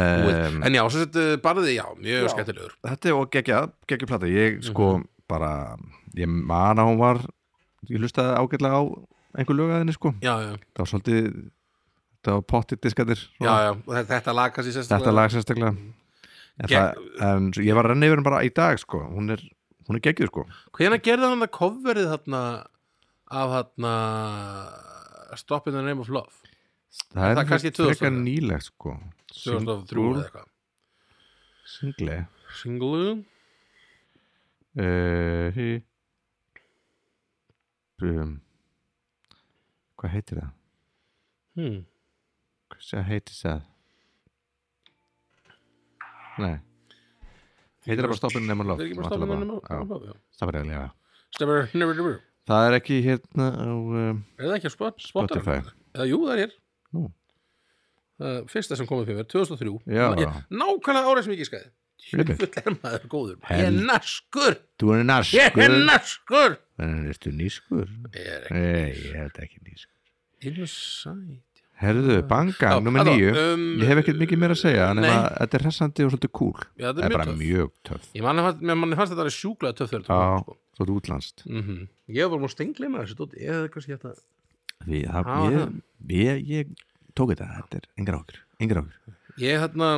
A: um,
B: En já, sem sett barði, já, mjög skemmtilegur
A: Þetta er og geggja, geggja plata
B: Mhm.
A: Ég sko bara Ég man að hún var Ég hlustaði ágætlega á einhver lögaðinni sko
B: Já, já,
A: Það var svolítið Það var pottið diskatir
B: já, já, og þetta- þetta lag kannski sérstaklega
A: Þetta lag sérstaklega En, það, en ég var að renna yfir hann bara í dag sko Hún er, hún er geggjuð sko
B: Hvenær gerði hann það coverið þarna af þarna Stop in the Name of Love
A: Það
B: það kannski 2000?
A: frekar nýlegt sko
B: 2003 eða eitthvað
A: Singli
B: Single
A: uh, hi- um, Hvað heitir það?
B: hmm.
A: Hvað heitir það? Nei Heitir það bara stoppinu nema
B: Það
A: lof
B: er ekki bara stoppa mönnum
A: lof
B: á
A: Stoppinu nema lof
B: Stefur, never, never
A: Það er ekki hérna á um,
B: Er það ekki á spot, spotar?
A: Spotify
B: Eða, jú, það er hér
A: Nú.
B: Það Fyrsta sem komið fyrir mér, 2003
A: Já.
B: Ég- Nákvæmlega árið sem ég gískaði
A: Einmitt.
B: Full er maður góður Ég
A: Hel-
B: er naskur
A: Þú er naskur
B: Ég er naskur
A: En ertu nýskur?
B: Ég er ekki
A: Nei, ég held ekki nýskur
B: Inside
A: Herðu, banga,
B: Já,
A: nummer
B: allavega,
A: níu
B: um,
A: Ég hef ekkert mikið meira að segja en
B: nei.
A: að þetta er hressandi og svolítið cool
B: Já, þetta
A: Það
B: er
A: er
B: mjög
A: bara
B: töff.
A: mjög töff
B: Ég manni fannst, mér- manni fannst þetta að sjúklega töff þegar þetta
A: Já,
B: kom, sko.
A: svolítið útlandst
B: Mhm. Ég var múið stenglið með þessu dóti eða kannski þetta
A: Því það,
B: Já,
A: ég, ég, ég tók þetta, þetta er engar ákjör Engar ákjör
B: Ég hérna,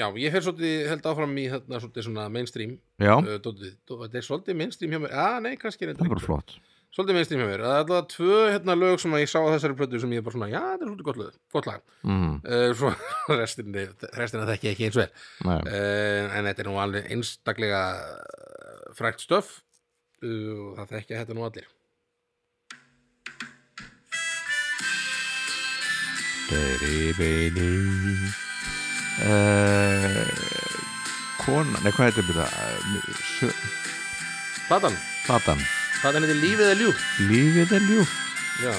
B: já, ég fer svolítið held áfram í hérna svolítið svona mainstream
A: Já,
B: uh, dótið, Dó- þetta er svolítið mainstream hjá mér Já, nei, kannski er
A: það
B: þetta
A: er bara flott
B: svolítið mainstream hjá mér Það er alltaf tvö hérna lög sem að ég sá á þessari plötu sem ég er bara svona, já, þetta er svolítið gott lög, gott lag
A: mm,
B: uh, Svo (laughs) restin, restin að þekki ég ekki eins vel
A: nei,
B: uh, en þetta er nú alveg einstaklega eh, frægt stöf uh, og það þekkja þetta nú allir
A: Deribini uh, Kona, nei hvað heitir þetta? Sjö,
B: Platan,
A: platan
B: platan heitir Lífið er ljúf
A: Lífið er ljúf,
B: Já,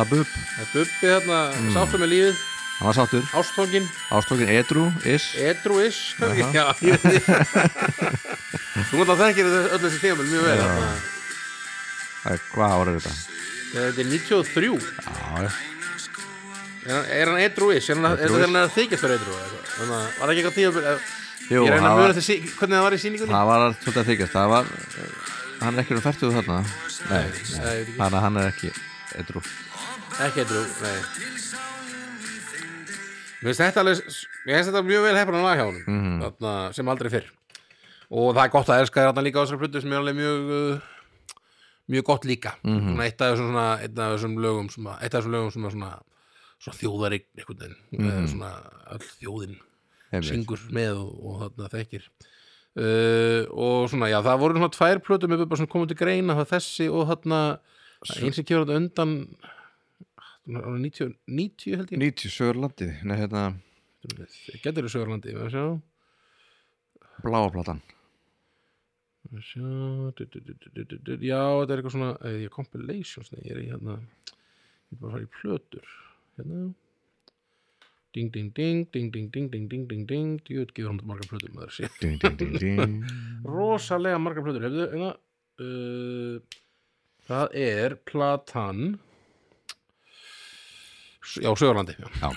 A: labub
B: það er bubbi hérna, mm. sáttu með lífið
A: Hann var sáttur,
B: Ástfókin,
A: ástókin edru, is
B: edruis kannski, (laughs) já,
A: (laughs)
B: ég veit ekki. Þú mútt að þekkir þetta öll þessi tegumil mjög vel hérna. þarna.
A: Æ, Hvað ára er þetta?
B: Eh, Þetta er 93
A: Já, já
B: Er hann, er hann edruis? Er hann, er
A: Edrú
B: þetta
A: is.
B: þegar hann er að þykjast vera edru? Þannig að var það ekki eitthvað tíma
A: Jú,
B: Ég reyna
A: það
B: að
A: var-
B: mjög þessi, hvernig það var í sýningunni?
A: Það var allt svolítið að þykjast Það var, hann er ekki um færtuðu þarna Nei,
B: Nei, ég veit ekki.
A: þannig að hann er ekki edru
B: Ekki edru, nei Mér finnst þetta alveg Mér finnst þetta mjög vel hefnum lag hjá honum mm. Þarna, sem aldrei fyrr Og það er gott að elska þarna líka á þessari plötu sem er alveg mjög uh, mjög gott líka mm eitt, af þessum, svona, eitt af þessum lögum sem, að- eitt af þessum lögum sem er svona, svona þjóðarig einhvern veginn, mm. svona öll þjóðin
A: Einmitt.
B: syngur með og, og þarna þekkir uh, og svona, já, það voru svona tvær plötu með bara svona komum til greina það þessi og þarna eins sem kemur þetta undan svona árið 90, 90 held ég
A: 90 Sörlandi, nei hérna
B: getur þú sögurlandi við sjá,
A: Bláa platan
B: við sjá du, du, du, du, du, du, du. já, þetta er eitthvað svona eh, ég er compilations, nei, ég er í hérna ég er bara að fara í plötur hérna ding, ding, ding, ding, ding, ding, ding, ding, ding, ding djúið gefur hann margar plötur maður sé
A: Ding, ding, ding, (laughs) ding
B: rosalega margar plötur hefðu, hérna uh, það er platan S- já, sögurlandi já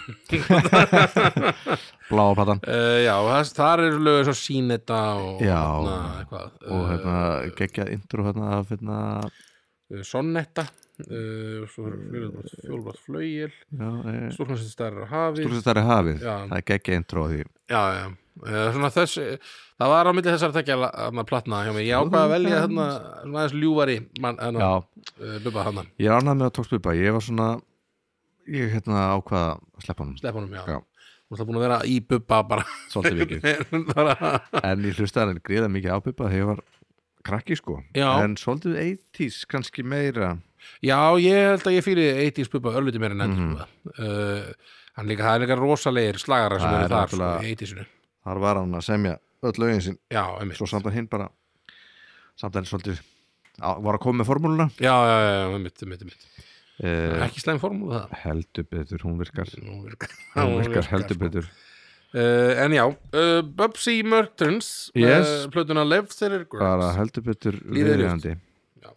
A: Bláa platan
B: Uh, já, það, þar eru lög svo síneta og
A: Já.
B: hérna, eitthvað,
A: og hérna geggjað intro hérna af hérna
B: uh, sonnetta uh, svo fjólblátt, fjólblátt flögil
A: já, eh,
B: stúrkan sem stærra hafi já,
A: Stúrstæri hafið,
B: Já.
A: það er geggjað intro á því
B: já, uh, svona þess það var á milli þessar tekja hana, platna hjá mig, ég ákvað að velja þarna svona aðeins ljúfari mann, hana,
A: Já,
B: uh, bubba hana,
A: ég er ánægð með að tók spilpa Ég var svona, ég hérna ákvaða að sleppa hann
B: sleppunum já,
A: Já.
B: og það búin að vera í bubba bara,
A: svolítið (laughs) mikið
B: bara
A: En ég hlustaði hann gríða mikið á Bubba þegar ég var krakki sko
B: Já.
A: En svolítið 80s kannski meira
B: já, ég held að ég fýri 80s bubba örluti meira en
A: Mhm.
B: 90s bubba uh, hann líka, það er líka rosalegir slagara sem
A: Það
B: eru
A: er
B: þar, sko,
A: náttúrulega-
B: í 80sinu
A: Þar var hann að semja öll lögin sín
B: já, einmitt
A: Svo samt að hinn bara Samt að hann svolítið á, var að koma með formúluna
B: já, já, já, já, einmitt, einmitt, einmitt.
A: eh,
B: ekki slæm formúla það
A: Heldur betur, (laughs) hún virkar
B: Nú virkar-
A: Hún
B: nú
A: virkar heldur
B: sko.
A: betur
B: uh, en já, uh, Bubsy Mertens
A: Yes.
B: uh, plötuna Left There
A: bara
B: Girls
A: heldur betur
B: Lífið er
A: viðjandi
B: Já.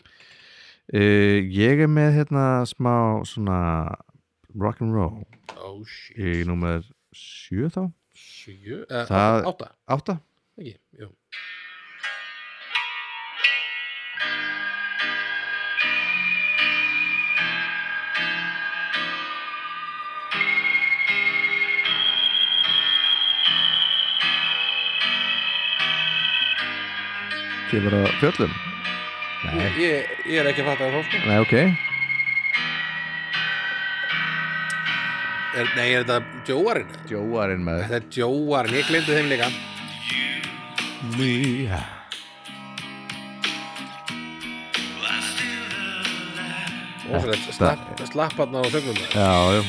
A: uh, ég er með hérna smá svona rock'n'roll
B: oh shit,
A: í númer 7 þá
B: sjö uh,
A: Það-
B: átta,
A: 8
B: ekki, jú
A: kemur að fjöllum nei,
B: ég, ég er ekki að fatta það sko.
A: nei ok
B: er, nei, er þetta Jóarinn?
A: Jóarinn með
B: þetta er Jóarinn, ég glemdi þeim líka
A: me
B: Ósveit, slapp, slapp hann á sögnum
A: já, já,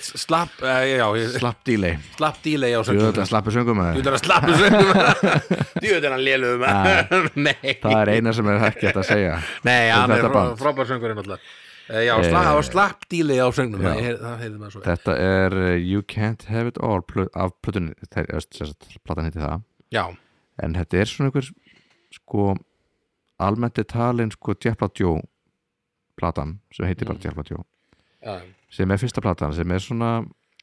B: slapp, uh, já, ég,
A: slapp delay
B: slapp dílei á
A: við
B: sögnum
A: höfum að slappa söngum með
B: Þú ert að slappa
A: (laughs)
B: sögnum Þú ert að hann léluðum (laughs) Nei
A: það er eina sem er ekki hægt að segja
B: Nei, hann er
A: þetta
B: frá,
A: band.
B: frábær söngurinn alltaf Eh, Já, sla, það var slapp díli á söngnum
A: Já.
B: það heyrði- það heyrði maður svo vel.
A: þetta er uh, You Can't Have It All plö- af plötunni, þeir, þess að platan heiti það
B: Já,
A: en þetta er svona einhver sko almennt er talin sko Djepla Djó platan sem heitir bara Djepla Djó
B: já,
A: sem er fyrsta platan sem er svona,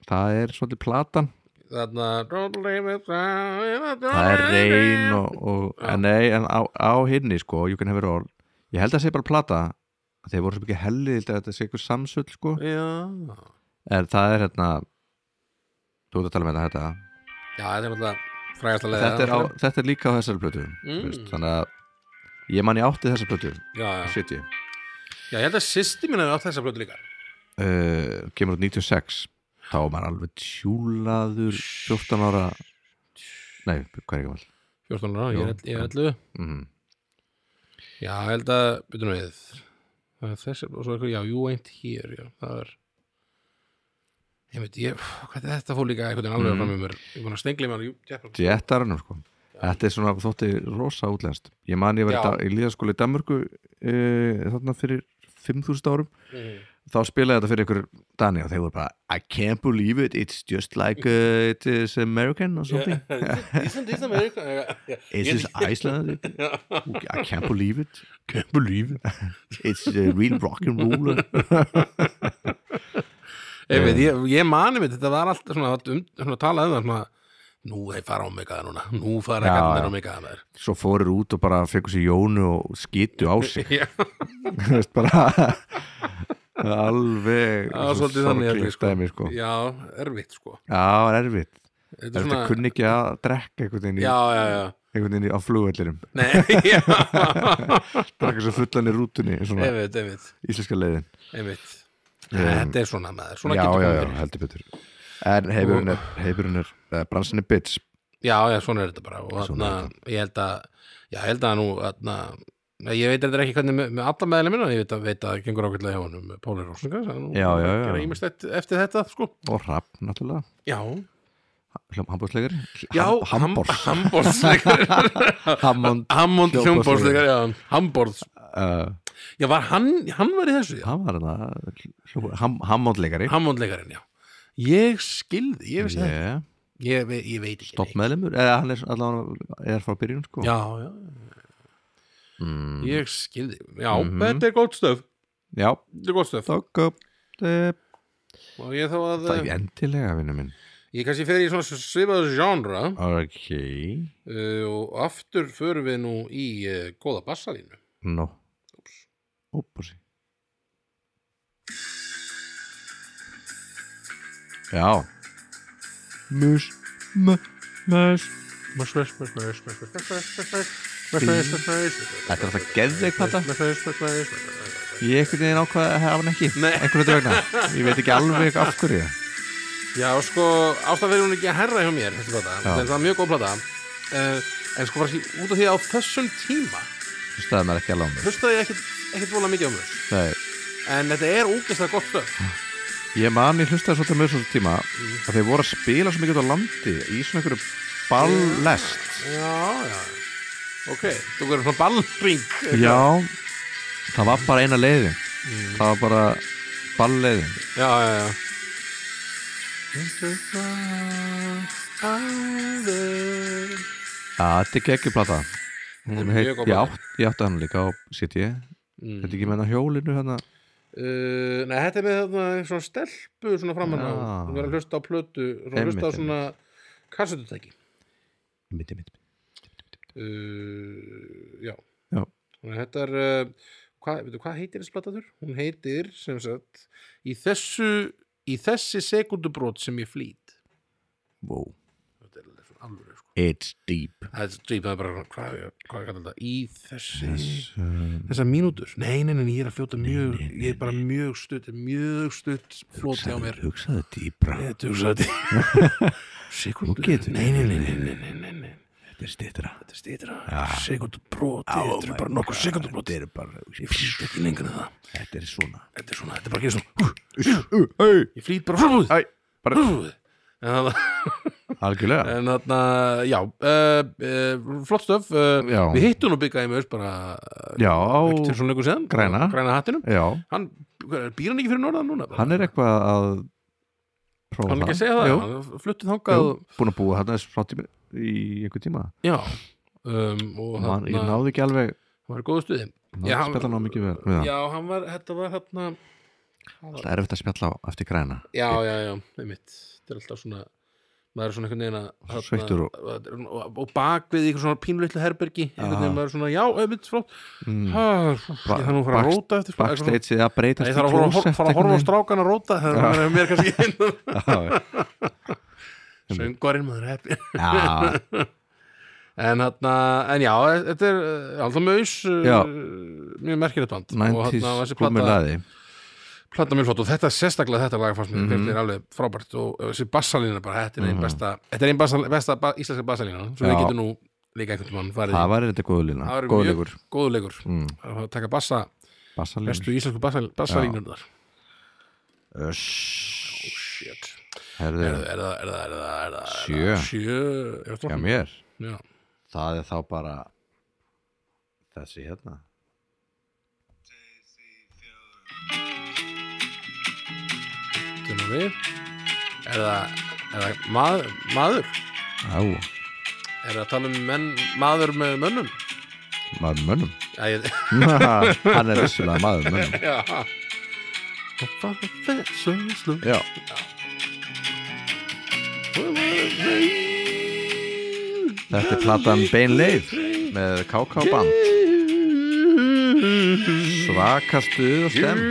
A: það er svolítið platan
B: Þarna Það
A: það er reyn og, og en nei, en á, á hinni sko You Can Have It All, ég held að það sé bara plata þeir voru svo mikið hellið ég held að þetta sé eitthvað samsull sko
B: Já,
A: en það er hérna þú ert að tala með þetta
B: já þetta er náttúrulega frægast að leiða
A: þetta er, á, þetta er líka á þessari plötu
B: Mm.
A: mm. veist, þannig að ég man ég átti þessari plötu
B: Já, já.
A: 70,
B: já, ég held að sýsti mín er á þessa blötu líka
A: uh, kemur út 96 þá var maður alveg tjúlaður 14 ára nei, hvað er ekki vel
B: 14 ára, ég er ell- ég er 11
A: mm.
B: Já, ég held að, byrjum við það er þessi, og svo eitthvað, já, you ain't here já, það er ég veit, ég, hvað er þetta fór líka einhvern veginn alveg
A: Mm.
B: fram með mér, ég búin að stengli mér í tjeppan.
A: Jetarinn sko Þetta er svona þótti rosa útlenskt Ég man ég var í,
B: Já.
A: da- í líðaskóla í Danmörku uh, þarna fyrir 5000 árum þá spilaði þetta fyrir ykkur Dani og þeir voru bara I can't believe it, it's just like uh, it is American or something
B: Ísland, Ísland, (laughs)
A: Is this
B: Ísland
A: Iceland? I can't believe it Can't believe it It's uh, real rock and roll
B: Ég veit, ég, ég mani mitt, þetta var alltaf svona, allt um, svona talað um það, svona nú er fara á mig að núna, nú fara
A: Já,
B: að
A: já.
B: gæta á mig að það
A: Svo fórur út og bara fekkur sér jónu og skýtu á
B: (laughs)
A: sig
B: Já,
A: Þú veist bara Alveg
B: það var svolítið þannig
A: sorglegt
B: allir,
A: dæmi, sko.
B: Já, erfitt sko
A: Já, það er erfitt
B: Þetta
A: Er
B: er
A: þetta
B: svona,
A: kunni ekki að drekka einhvern veginn, í,
B: já, já, já
A: einhvern veginn í, á flugvellirum
B: Nei, (laughs) já,
A: (laughs) Drakka svo fullan í rútunni svona
B: ég veit, ég veit
A: íslenska leiðin
B: einmitt
A: Um,
B: þetta er svona maður, svona
A: Já,
B: getur
A: já,
B: komið
A: já,
B: fyrir.
A: heldur betur En heimurinn er, heimurinn er uh, bransin er bitch
B: já, já, svona er þetta bara og
A: Svona
B: þarna,
A: er
B: ég held að já, ég held að nú, þarna nei, ég veit þetta ekki hvernig með, með alla meðlega minna ég veit að, veit að það gengur ákveðlega hjá honum Páli Róslinga,
A: Já, já, já.
B: gera ímest eftir þetta, sko
A: og rapp, náttúrulega
B: já,
A: Hambúrsleikar
B: já,
A: Hambúrs (laughs)
B: Hambórsleikar (laughs)
A: Hammond
B: Hammond hljómbórsleikar,
A: Hljómborðsleikari.
B: já, Hambórðs
A: uh,
B: já, var hann, hann var í þessu, já
A: Hann var þetta ham, Hammondleikari
B: Hammondleikarinn, já ég skilði, ég veist það
A: yeah.
B: ég, ve- ég veit ekki
A: Stopp meðlemur Eða hann er allavega er frá byrjun sko
B: já, já,
A: mm.
B: ég skilði já,
A: Mhm.
B: þetta er gott stöf
A: Já,
B: þetta er gott stöf
A: þokk upp eh,
B: og ég þá að eh,
A: Það er ekki endilega, vinnu minn
B: ég kannski fer í svona svipaðu genre
A: Ok,
B: uh, og aftur förum við nú í uh, góða bassalínu
A: no Úps Já Mus Mus Þetta er alltaf geðveik plata Ég einhvern veginn ákvað að hafa hann ekki
B: Nei.
A: Einhvern veginn vegna Ég veit ekki alveg af hverju
B: já sko ástæð verður hún ekki að herra hjá mér þessi plata,
A: Já.
B: en það er mjög góð plata uh, en sko bara því- út af því að á þessum tíma
A: Þú staðið mér ekki alveg á mig
B: hlustaði ég ekkit, ekkit vola mikið á mér
A: Nei,
B: en þetta er ógeðslega gott stöf
A: Mm. Ég man, ég hlustaði svolítið með þessu tíma að þeir voru að spila svo mikið út á landi í svona einhverju ballest
B: já, já ok, þú verður svona ballring
A: Já, það var bara eina leiðin
B: Mm.
A: Það var bara ballleiðin
B: já, já, já
A: Já, þetta er geggjuplata
B: er
A: Hún
B: mjög
A: heit-
B: góð
A: Ég
B: plata.
A: átt- ég átti hann líka á City
B: Mm.
A: Þetta ekki menna hjólinu hérna
B: Uh, nei, þetta er með þarna svona stelpu svona framann á,
A: Já.
B: þú verður að hlusta á plötu svona
A: Ah. Einmitt,
B: hlusta á svona kassetutæki
A: Mitti, mitti
B: uh, já
A: Já.
B: Þannig að þetta er uh, hvað, veitu, hvað heitir þessi plataður? Hún heitir sem sagt í þessu í þessi sekundubrót sem ég flýt
A: wow.
B: þetta er alveg svona alvöru sko.
A: It's deep
B: það er strýp, það er bara svona, hvað, hvað er þetta í þessi
A: um,
B: þessar mínútur, nei, nei, nei, ég er að fljóta mjög
A: nei, nei,
B: ég er bara mjög stutt mjög stutt flóti á mér
A: Hugsaðu dýbra
B: Þetta er svo þetta (laughs) Sekundu
A: getur-
B: Nei, nei, nei, nei, nei, nei, nei, nei.
A: Þetta er Oh stýttra
B: Þetta er stýtra Sekundu brot Þetta er bara nokkur sekundu brot Ég flýt ekki lengur en það
A: Þetta er svona
B: Þetta er svona, þetta er bara að gera svona
A: uh, hey.
B: Ég flýt bara frúð
A: Æ, bara
B: En þarna,
A: Algjörlega
B: en þarna, já, uh, uh, flott stöf, uh,
A: Já.
B: við hittum nú byggaði með bara uh,
A: Já,
B: ekki til svona lengur séðan,
A: Græna.
B: græna hattinum,
A: já
B: hann, býr hann ekki fyrir norðan núna?
A: Hann er eitthvað að prófa
B: hann er ekki að segja það,
A: Jú,
B: hann fluttið þangað,
A: jú, búin að búa hann þess frá tíma í einhver tíma
B: já, um, og
A: Man, Ég
B: þarna-
A: náði ekki alveg
B: hann var í góðu stuði
A: náði
B: Já, hann-
A: Spjallan á mikið vel við hann.
B: já, hann var, þetta var hérna
A: Alltaf erfitt að spjalla á eftir græna
B: já, já, já, einmitt þetta er alltaf svona maður er svona einhvern veginn að þarna-
A: Sveittur og-
B: og, og bak við einhver svona pínulitlu herbergi einhvern veginn
A: Aha.
B: maður er svona, já, einmitt, flott
A: mm.
B: ha, ég þarf nú að fara að
A: Back-
B: róta eftir eitthvað svona.
A: Backstage eða
B: Nei,
A: breytast
B: ég þarf að horfa- fara að horfa á
A: stráð
B: strákan að róta það er mér
A: (laughs)
B: kannski hérna. (laughs)
A: Já,
B: söngvarinn maður er happy
A: já,
B: en, hana, en já, þetta er eh, alltaf maus
A: Já.
B: mjög merkilegt band og
A: 90s
B: þarna var þessi
A: komið
B: plata,
A: laði
B: plata mjög flott og þetta sérstaklega þetta lag fannst mér
A: Mhm.
B: mm er alveg frábært og þessi bassalína bara, þetta er einn
A: Mhm.
B: besta þetta er einn bassa, besta ba íslenska bassalína sem við
A: Já.
B: getum nú líka einhvern mann farið
A: Það
B: í
A: var þetta góðulina,
B: Það var mjög-
A: góðulegur
B: góðulegur
A: mm.
B: að taka bassa,
A: Bassalín
B: bestu íslensku bassal- bassalínur þar
A: Öss
B: shit,
A: Herðu,
B: er það, er það, er það, er það, er það
A: Sjö.
B: sjö, er
A: hjá
B: það
A: mér
B: já,
A: Það er þá bara þessi hérna
B: Þetta er við. Er það, er það maður, maður?
A: Á,
B: Er það að tala um menn, maður með mönnum?
A: maður (laughs) mönnum
B: Já, ég... (laughs)
A: Hann er vissulega maður mönnum
B: Já. Hoppa á þessu slú.
A: Já, þetta er platan Bein leið með KK band Svaka stuð og stem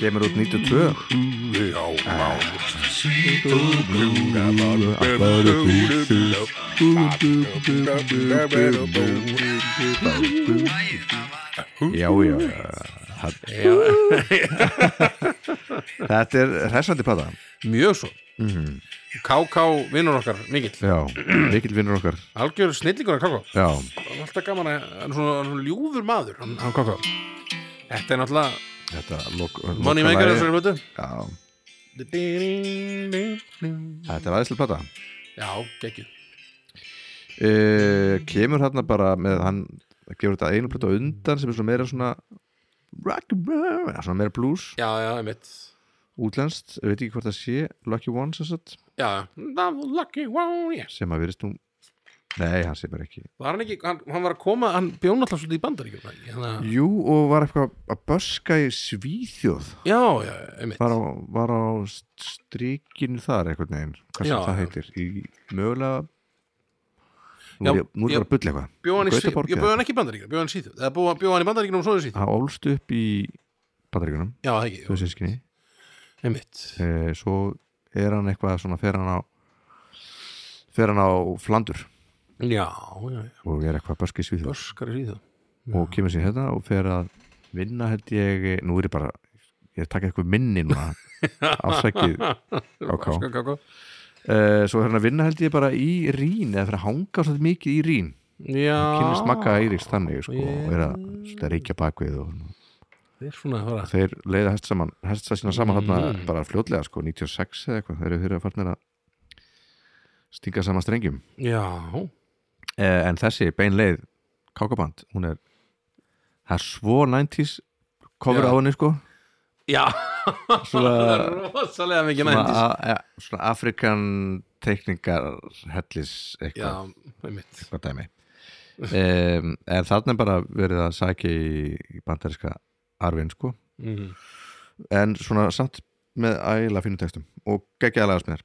A: Kemur út 92
B: Já, já.
A: Já, já, já Þetta er hressandi plata
B: Mjög svo. KK vinnur okkar, mikill.
A: Já, mikill vinnur okkar
B: Algjör snillingur að KK.
A: Já,
B: Það var alltaf gaman að hann er svona, hann er svona ljúfur maður hann, hann kokka Þetta er náttúrulega
A: þetta lok,
B: Moneymaker
A: lokalagið-
B: þessari hlutu
A: Já, þetta er aðeinslega plata
B: Já, geggjuð
A: uh, Kemur þarna bara með hann gefur þetta einu plata á undan sem er svona meira svona rock, rock, svona meira blues
B: Já, já, einmitt
A: útlenskt, ég veit ekki hvort það sé Lucky One sem sagt,
B: Já, já. That was lucky one, yes
A: sem að verist nú Nei, hann sé bara ekki
B: Var hann ekki, hann, hann var að koma hann bjón alltaf svolítið í bandaríkjum var það ekki? Þannig að-
A: Jú, og var eitthvað að böska í Svíþjóð
B: Já, já, einmitt
A: var á, var á strikinu þar einhvern veginn,
B: Já,
A: hvað sem það
B: já.
A: heitir í mögulega
B: Já,
A: nú er ég nú er
B: ég-
A: ég bara að bulla eitthvað
B: Bjó hann í Svíð,
A: Gautaborg
B: ég bjó hann ekki í bandaríkjum Bjó hann í Svíð, það bjó hann í bandaríkjum og svo í Svíð Já,
A: hann ólst upp í Bandaríkunum,
B: það ekki,
A: þau
B: jú.
A: sískinni
B: einmitt
A: e, svo er hann eitthvað svona fer hann á fer hann á Flandur
B: Já, já, já,
A: og er eitthvað að böska í Svíþjóð
B: börskar í Svíð
A: og kemur sér hérna og fer að vinna held ég, nú er ég bara ég er að taka eitthvað minni
B: (laughs)
A: núna afsækið Ok.
B: Káká
A: uh, svo er hann að vinna held ég bara í Rín eða fyrir að hanga svolítið mikið í Rín
B: Já
A: kynist Magga Eiríks þannig sko, og er að
B: Ég-
A: svolítið reykja bakvið og
B: Þeir svona, það var að
A: þeir leiða hest saman hest það sína saman
B: Mm.
A: þarna bara fljótlega sko 96 eða eitthvað, þeir eru þeirra farnir að stinga saman strengjum
B: Já,
A: uh, en þessi bein leið kákaband, hún er það er svo 90s cover
B: Já.
A: á henni sko
B: Já, (laughs) það
A: svona,
B: er rosalega mikið
A: svona,
B: nændis
A: a- ja, svona afrikan teikningar hellis
B: Já,
A: eitthvað,
B: einmitt
A: eitthvað dæmi um, en þarna er bara verið að sækja í, í bandariska arfin sko
B: mm.
A: en svona samt með ægilega fínu textum og geggjaða lagasmiðar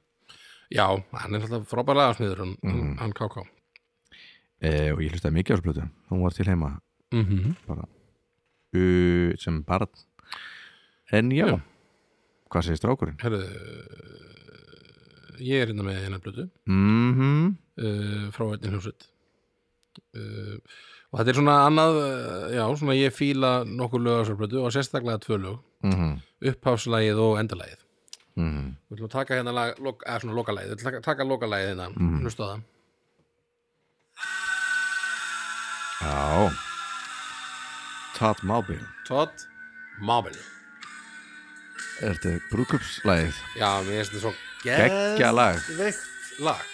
B: Já, hann er alltaf frábær lagasmiður hann, mm.
A: Mhm.
B: hann KK
A: e, og ég hlustaði mikið á þessu plötu hún var til heima
B: mm
A: Mhm.
B: -hmm.
A: uh, sem barn en já,
B: Já.
A: hvað segir strákurinn?
B: Herðu Ég er hérna með hérna blötu
A: Mm -hmm.
B: uh, frá einnig hljómsveit uh, og þetta er svona annað uh, já, svona ég fíla nokkur lög á þessar blötu og sérstaklega tvö lög
A: Mm -hmm.
B: upphafslagið og endalagið
A: Mm -hmm.
B: Við ætlum að taka hérna lag, lok, eða svona lokalagið, við ætlum að taka- taka lokalagið hérna, mm.
A: Mhm.
B: hlustu á það.
A: já Todd Maubin
B: Todd Mabel.
A: er þetta brúkupslæðið
B: Já, mér finnst þetta svo
A: Geggja lag.
B: Veikt lag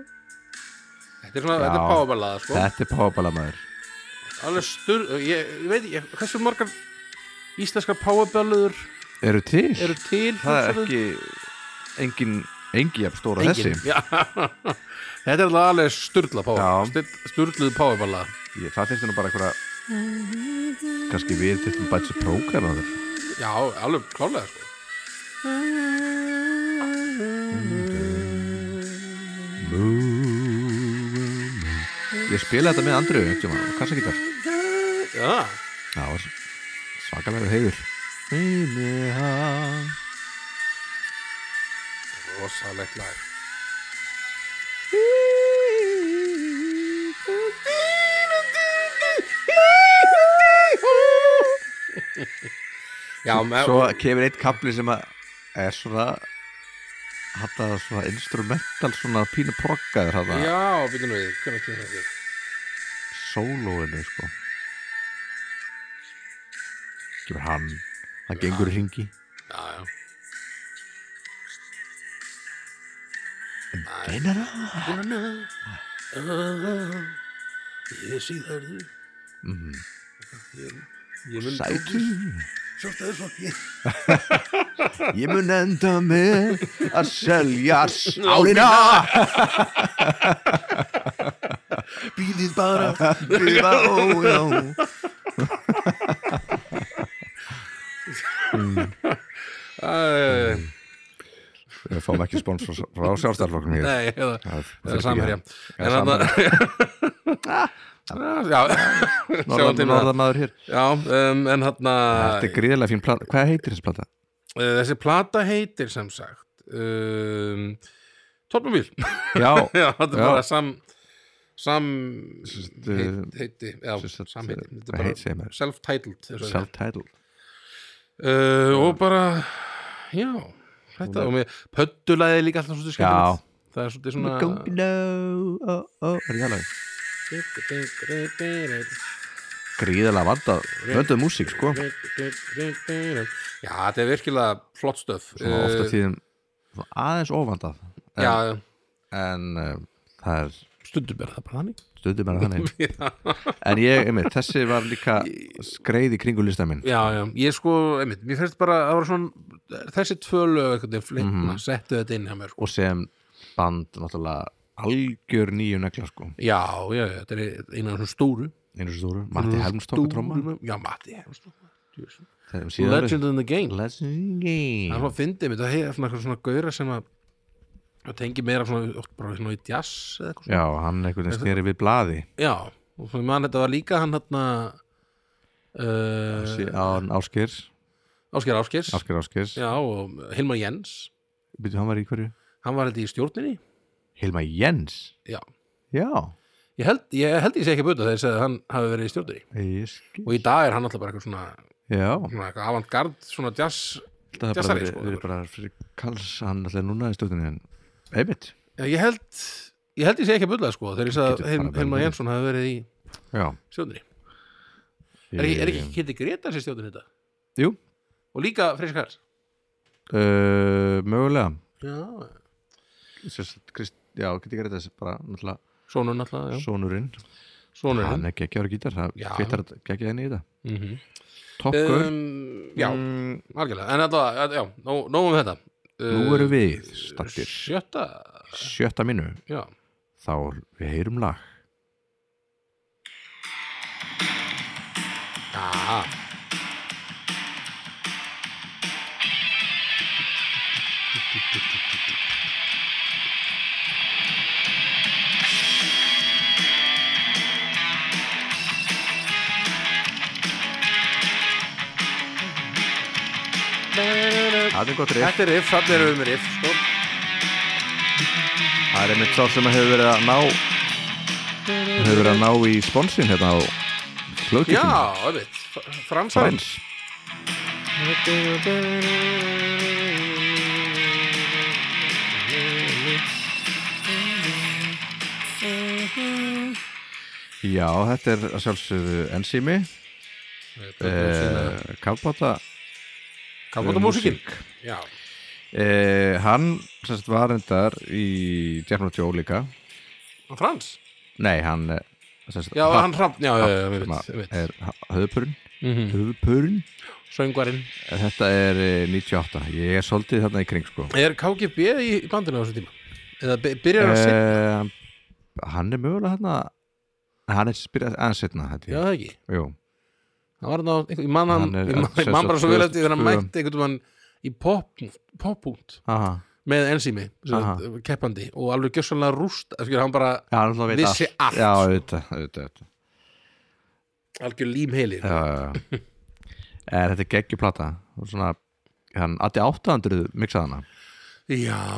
B: Þetta er svona,
A: Já.
B: þetta er powerballada sko
A: þetta er pábalamaður
B: Alveg stur, ég, ég veit, ég, hversu margar íslenskar powerballadur
A: eru til?
B: eru til
A: það er
B: hugsaðu?
A: ekki engin engi jafn stóra þessi
B: Já. (laughs) Þetta er alltaf alveg sturla
A: Já.
B: power Sturluð powerballa
A: ég, það finnst nú bara einhverja kannski við til að bæta sér prógram á þér
B: Já, alveg klálega sko.
A: ég spila þetta með Andriu einhvern tímann, kannski ekki það
B: Já,
A: það var svakalega heiður
B: rosalegt lag Já, með,
A: svo kemur eitt kapli sem að er svona hætta svona instrumental svona pínu proggaður hætta
B: já, býtum við Hvernig kemur þetta?
A: sólóinu sko kemur hann hann gengur í ringi
B: Já, já
A: Einara
B: Ég er síðarðu
A: Mhm.
B: Ég mun
A: Sætu
B: Sjálfstæðisflokki
A: Ég mun enda með að
B: (laughs)
A: selja (laughs) sálina
B: Býðið bara
A: Býða ó, já
B: Æ,
A: Mm. Við fáum ekki spons frá- frá sjálfstæðarflokknum hér
B: Nei, eða
A: Það
B: Það er samherja
A: Já,
B: En (laughs) þarna Já, sjáum til
A: Norðan,
B: með það.
A: norðamaður hér
B: Já, um, en þarna
A: Þetta er gríðarlega fín plata Hvað heitir þessi plata?
B: eh, Þessi plata heitir sem sagt um, Tornumvíl
A: Já,
B: (laughs) Já, þetta er
A: Já.
B: bara sam sam
A: Sest, uh,
B: heit- heiti já,
A: sest, uh,
B: samheiti Þetta er
A: hvað
B: bara
A: heit segir maður?
B: self-titled þessu er.
A: self-titled
B: uh, og bara já, þetta og mér pöttulaði líka alltaf svolítið
A: Já.
B: skemmtilegt það er svolítið
A: We're going
B: svona
A: low, oh, oh, er ég alveg? Gríðarlega vandað Vönduð músík, sko
B: já, þetta er virkilega flott stöf Eh,
A: Svona ofta tíðum svona aðeins óvandað En,
B: já,
A: en uh, það er
B: eh, stundum er það bara þannig
A: stundum er það
B: (laughs)
A: þannig En ég, einmitt, þessi var líka skreið í kringu lista minn
B: já, já, ég sko, einmitt, mér finnst bara að það var svona, þessi tvö lög einhvern veginn flitna, settu þetta inn hjá mér sko.
A: Og sem band, náttúrulega algjör nýju negla, sko
B: já, já, já, þetta er einu af þessum stóru
A: Einu svo stóru, Matti Helmstók að tróma
B: Stóru- já, Matti Helmstók djöfull.
A: Legend
B: Legend in the game það er
A: Legend Game
B: svona fyndið mitt, það hefur svona, eitthvað svona gauðra sem að það tengi meira svona, oft bara svona í jazz eða eitthvað svona,
A: Já, hann einhvern veginn sneri við blaði
B: já, og svona mann þetta var líka hann hann uh,
A: Án Áskeirs
B: Ásker Áskers
A: Ásker Áskers
B: já, og Hilmar Jens
A: Býtu, hann var í hverju?
B: hann var þetta í stjórninni
A: Hilma Jens
B: já,
A: Já,
B: ég held ég, held ég sé ekki að buta þegar ég segði að hann hafi verið í stjórninni
A: ég skil
B: og í dag er hann alltaf bara eitthvað svona,
A: Já,
B: svona eitthvað avantgard, svona jazz
A: það er bara
B: Jazzari,
A: verið,
B: sko.
A: verið bara fyrir Karls hann alltaf núna í stjórninni en einmitt
B: já, ég held ég held ég sé ekki að buta það sko þegar ég
A: Getur
B: segði
A: bara
B: að Hilm-
A: vel
B: Hilmar
A: verið.
B: Jensson hafi verið í
A: Já,
B: stjórninni er ekki, er ekki Kitty Gretar sér stjórnin þetta
A: Jú,
B: og líka Freysi Karls
A: uh, mögulega
B: já,
A: Sérst, Krist, Já, geti ekki þetta bara náttúrulega
B: sonur náttúrulega
A: sonurinn
B: sonur
A: Hann er geggjaður á gítar, það
B: Já.
A: fittar geggjaði henni í þetta
B: mm
A: Tokkur
B: um, já,
A: mm,
B: algjörlega en alltaf, já, nóg nóg um þetta
A: Nú
B: Uh,
A: erum við stattir
B: sjötta
A: sjötta minu
B: já,
A: þá við heyrum lag
B: já
A: Það er gott riff
B: Þetta er riff, þarna erum við með riff sko.
A: Það er einmitt sá sem hefur verið að ná hefur verið að ná í sponsin hérna á
B: Já,
A: hlugkjöfum
B: öðvitt, fransar
A: Frans Já, þetta er að sjálfsögðu ensými eh, kafbáta
B: Kafbóta músikinn Já,
A: eh, Hann sérst var endar í Jeffnum Jó líka
B: og Frans
A: Nei, hann eh, sérst,
B: Já,
A: Hrafn
B: hann hrapp, já, já, já, við
A: sem
B: veit,
A: að
B: við veit
A: er höfðpurinn
B: Mhm.
A: höfðpurinn
B: söngvarinn
A: En Þetta er eh, 98, ég er svolítið þarna í kring sko
B: Er KGB í, í bandinu á þessu tíma? Eða by- byrjar að setja?
A: uh, Hann er mögulega þarna Hann er spyrjað aðeins setna
B: Já, það ekki
A: Jú,
B: Það var ná, ég man hann,
A: Hann er-
B: ég man- ég man bara svo vel eftir þegar hann mætti einhvern veginn í pop- poppúnt
A: aha
B: með ensými,
A: Aha.
B: keppandi og alveg gjössanlega rúst, skilur, hann bara
A: Já, hann alltaf veit
B: Vissi allt.
A: Já, auðvitað, auðvitað, auðvitað.
B: algjör límheilir
A: Já, já, já. (laughs) Er Eh, þetta geggjuplata Og Svona, hann, Addi 800 miksaði hana
B: Já,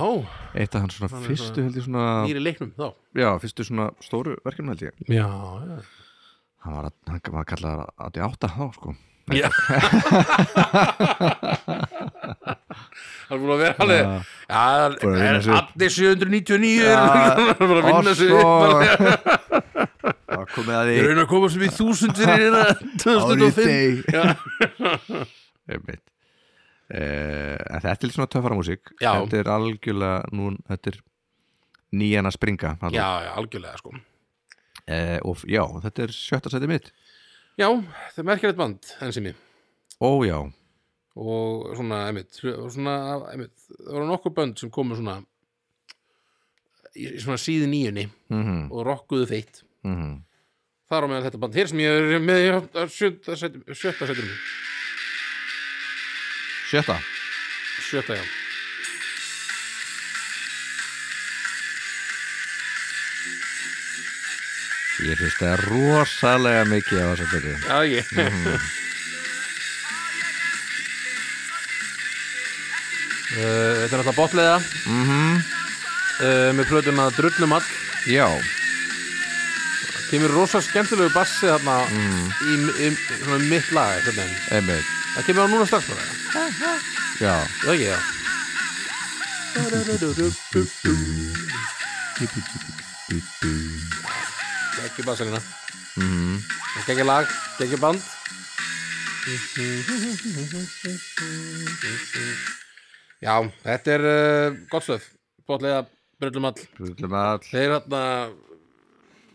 A: Eitt af hans svona
B: Hann er
A: fyrstu
B: svona-
A: held ég svona
B: nýri leiknum þá
A: Já, fyrstu svona stóru verkefni held ég
B: Já,
A: Hann var, hann var kallar Addi 8 þá sko (laughs)
B: já Það er búin að vera alveg
A: Já.
B: Já, það
A: Búin að vinna
B: er
A: sig upp.
B: allir 799
A: Já,
B: (laughs) Það er búin að vinna sig upp alveg.
A: Það
B: (laughs)
A: komið að því
B: Ég raun að komast upp í þúsund fyrir
A: (laughs)
B: hérna 2005
A: deg
B: Já.
A: (laughs) Einmitt. Eh, en þetta er svona töffara músík
B: Já.
A: þetta er algjörlega nú, þetta er nýjan að springa þarna.
B: Já, já, algjörlega sko
A: eh, og f- já, þetta er sjötta sæti mitt
B: Já, það er merkilegt band, ensými
A: ó já,
B: og svona, einmitt, hlu- svona, einmitt það voru nokkur bönd sem komu svona í í svona síði nýjunni
A: mm
B: og rokkuðu þeitt
A: Mm -hmm.
B: þar á meðan þetta band hér sem ég er með í á sjötta sæti- sjötta sætur minn
A: sjötta
B: sjötta já
A: ég finnst það rosalega mikið á þess að byrja
B: Já, ég Uh, þetta er alltaf botlega mm uh, með plötuna Drullumall
A: já,
B: kemur rosa skemmtilegu bassi þarna í, í, í svona um mitt lag einhvern veginn.
A: einmitt
B: það kemur á núna strax bara
A: já,
B: það ekki, já ekki bassalina mm -hmm. ekki lag, ekki band já, þetta er uh, gott stöð botlega brullumall
A: brullum all
B: þeir hérna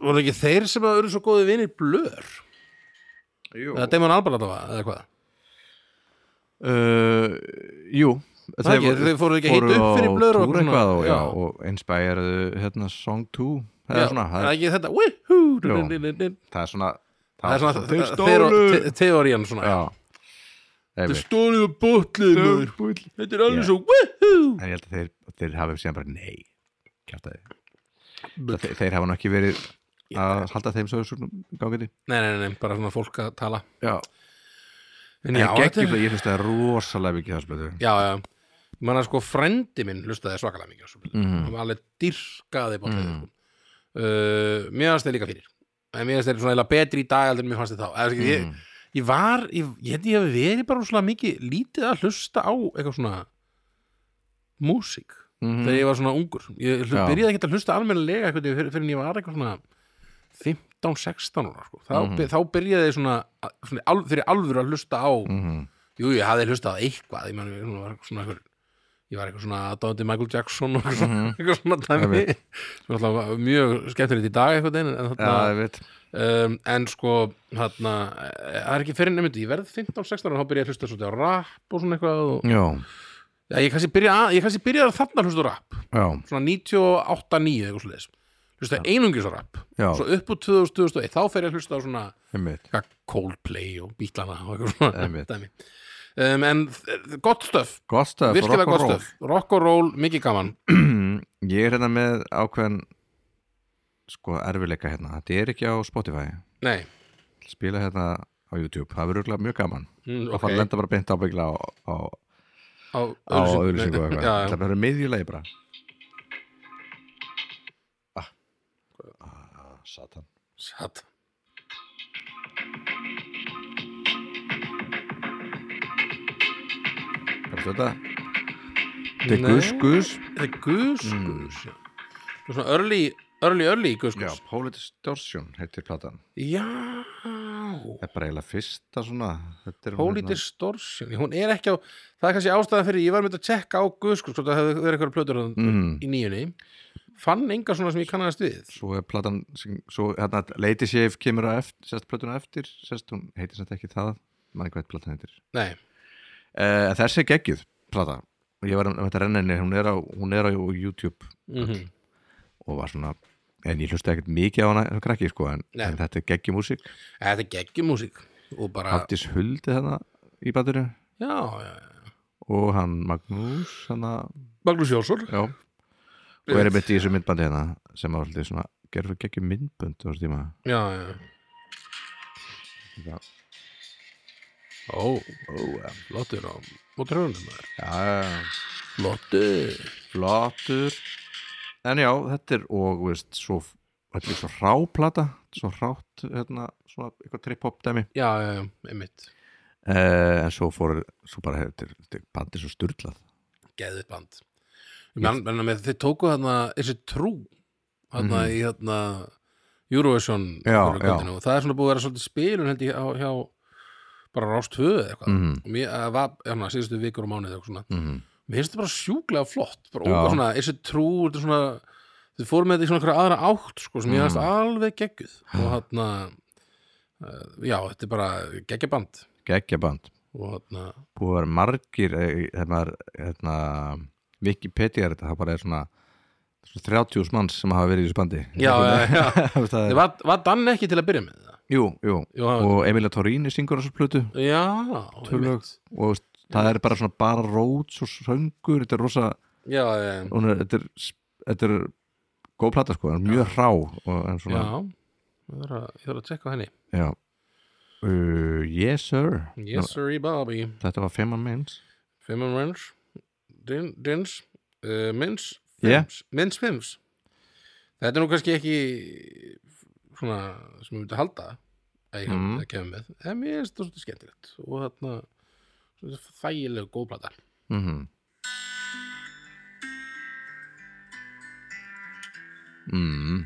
B: voru ekki þeir sem að eru svo góði vinir blör
A: jú,
B: eða Damon Albarn allavega, eða hvað
A: uh, jú.
B: Það ekki, þeir fóru ekki að hita upp fyrir blöðru
A: og
B: og
A: túr
B: svona.
A: eitthvað og, já,
B: Já.
A: og inspireðu hérna Song 2 það
B: Já,
A: er svona,
B: er
A: það,
B: það
A: er-
B: ekki þetta Wihú!
A: það er svona
B: það er svona
A: þeir
B: þe-
A: stólu
B: þe- þe- teorían svona
A: já,
B: Þetta er
A: einmitt
B: stólið og botlið maður.
A: Stólubull.
B: Þetta er alveg
A: Já.
B: svo Wihú!
A: en ég held að þeir, þeir hafi síðan bara nei kjartaði þeir, þeir hafa nú ekki verið að halda þeim svo svona gangandi
B: Nei, nei, nei, bara svona fólk að tala
A: já,
B: En
A: en
B: já,
A: já,
B: þetta
A: geggjum,
B: er
A: ég finnst það rosalega mikið þessu blöðu
B: Já, já, ég man að sko frendi minn hlustaði svakalega mikið á svo mm
A: Mhm.
B: hann var alveg dyrkaði bóttið mm uh, Mér fannst þeir líka fyrir en mér fannst þeir svona eiginlega betri í dag heldur en mér fannst þeir þá Eða, mm ég, ég var, ég, ég held ég hafi verið bara svona mikið lítið að hlusta á eitthvað svona músík
A: Mhm.
B: þegar ég var svona ungur ég hlu,
A: Já.
B: byrjaði ekki að hlusta almennilega eitthvað fyrir, fyrir en ég var eitthvað svona 15-16 ára sko. þá,
A: Mhm.
B: mm þá byrjaði ég svona, svona al, fyrir alvöru að hlusta á
A: Mhm.
B: Jú, ég hafði hlustað á eitthvað ég, man, ég var svona eitthvað ég var eitthvað svona aðdáðandi Michael Jackson og eitthvað, svona- eitthvað svona dæmi
A: Mhm. Einmitt.
B: sem alltaf var mjög skemmtilegt í dag eitthvað en, en,
A: já,
B: þarna,
A: ég veit
B: um, en sko þarna, eh, það er ekki fyrir nefndi ég verð 15-16 ára, þá byrja ég að hlusta svolítið á rap og svona eitthvað og,
A: já,
B: já, ég kannski byrja að, ég kannski byrja að þarna að hlusta á rap
A: já,
B: svona 98-9 eitthvað sliðis hlusta einungis á rap
A: Já.
B: svo upp úr 2000-2001, þá fer ég að hlusta á svona
A: einmitt
B: eitthvað Coldplay og Bítlana og eitthvað svona (laughs)
A: Einmitt.
B: dæmi. um, en þ- gott stöf
A: gott stöf,
B: virkilega
A: rock and
B: gott
A: roll.
B: stöf, rock og roll, mikið gaman
A: (clears throat) ég er hérna með ákveðan sko erfileika hérna þetta er ekki á Spotify
B: nei,
A: spila hérna á YouTube, það verður örugglega mjög gaman
B: mm,
A: og
B: ok
A: fara að lenda bara beint ábyggla á, á,
B: á
A: á auðlýsingu og eitthvað
B: já,
A: það verður miðjulegi bara ah. ah, satan
B: satt
A: Kannstu þetta? Þetta er
B: Nei.
A: gus gus Mm.
B: þetta er gus, gus já. Þetta er svona early, early, early gus,
A: Já,
B: gus
A: Polar Distortion heitir platan
B: já,
A: Það er bara eiginlega fyrsta svona Þetta er hérna-
B: Holy Distortion hún er ekki á, það er kannski ástæðan fyrir ég var með að tjekka á gus, gus, hvort það hefði verið eitthvað plötur þarna
A: mm,
B: í nýjunni fann enga svona sem ég kannast við
A: Svo er platan sem, svo, hérna, Lady Shave kemur að eftir, sérst plötuna á eftir sérst, hún heitir sem ekki það manni hvað platan heitir
B: Nei,
A: uh, þessi er geggjuð plata og ég var um þetta renna henni, hún er, á, hún er á YouTube
B: mm
A: og var svona en ég hlusti ekkert mikið á hana sem krakki sko en,
B: Nei.
A: en þetta er geggjumúsík
B: þetta er geggjumúsík og bara,
A: Haftis Huldi þarna í bandinu
B: já, já, já
A: og hann Magnús hana,
B: Magnús Jónsson
A: já, og er einmitt í þessu myndbandi hérna sem var svolítið svona gerður geggjum myndbönd á þessu tíma
B: Já, já
A: Já.
B: Ó,
A: Ó, já,
B: flottur á mótrjónum maður
A: já
B: Flottur
A: flottur en já, þetta er og veist, svo, þetta er svo ráplata svo rátt, hérna, svona eitthvað trip-hop dæmi,
B: Já, já, já, einmitt
A: eh, en svo fór svo bara hefur til, til bandið svo styrlað
B: Geðið band Men, menna, með, Þeir tóku þarna, þessi trú þarna í þarna Eurovision
A: Mhm. Já,
B: kvöldinu og það er svona búið að vera svolítið spilun held ég á, hjá bara rást höfuð eða eitthvað
A: Mhm.
B: og mér að var, hérna, síðustu vikur og mánuð eða eitthvað svona
A: mm -hmm.
B: mér finnst þetta bara sjúklega flott bara
A: Já.
B: óka svona, þessi trú, þetta er svona þið fórum með þetta í svona einhverja aðra átt sko, sem ég
A: Mm.
B: hafðist alveg geggjuð og hann já, þetta er bara geggjaband
A: geggja band,
B: og hann,
A: búið að vera margir eh, þegar maður, hérna Wikipedia er þetta, það bara er svona svona 30 manns sem hafa verið í þessu bandi
B: já, já, já
A: (laughs) Það
B: Þið
A: er,
B: var, var Dan ekki til að byrja með það?
A: jú, jú
B: Jú, hann-
A: og Emilia Torrini syngur á þessu plötu
B: já,
A: Tvö lög.
B: einmitt.
A: og veist, það er bara svona bara róts og söngur, þetta er rosa
B: já, já,
A: hún er, þetta er, þetta er góð plata sko, hún er mjög hrá og en
B: já
A: svona,
B: Ég þarf að- ég þarf að tjekka á henni
A: já, Uh, yes sir
B: Yes, sir, Bobby
A: þetta var femman meins
B: Fimman Rens Din- Dins uh, Mins
A: Yeah.
B: Fims Mins Fims Þetta er nú kannski ekki svona sem við myndi halda að ég
A: Mm.
B: mm. kemur með en mér er þetta svolítið skemmtilegt og þarna svolítið þægilega góðplata
A: mm mm.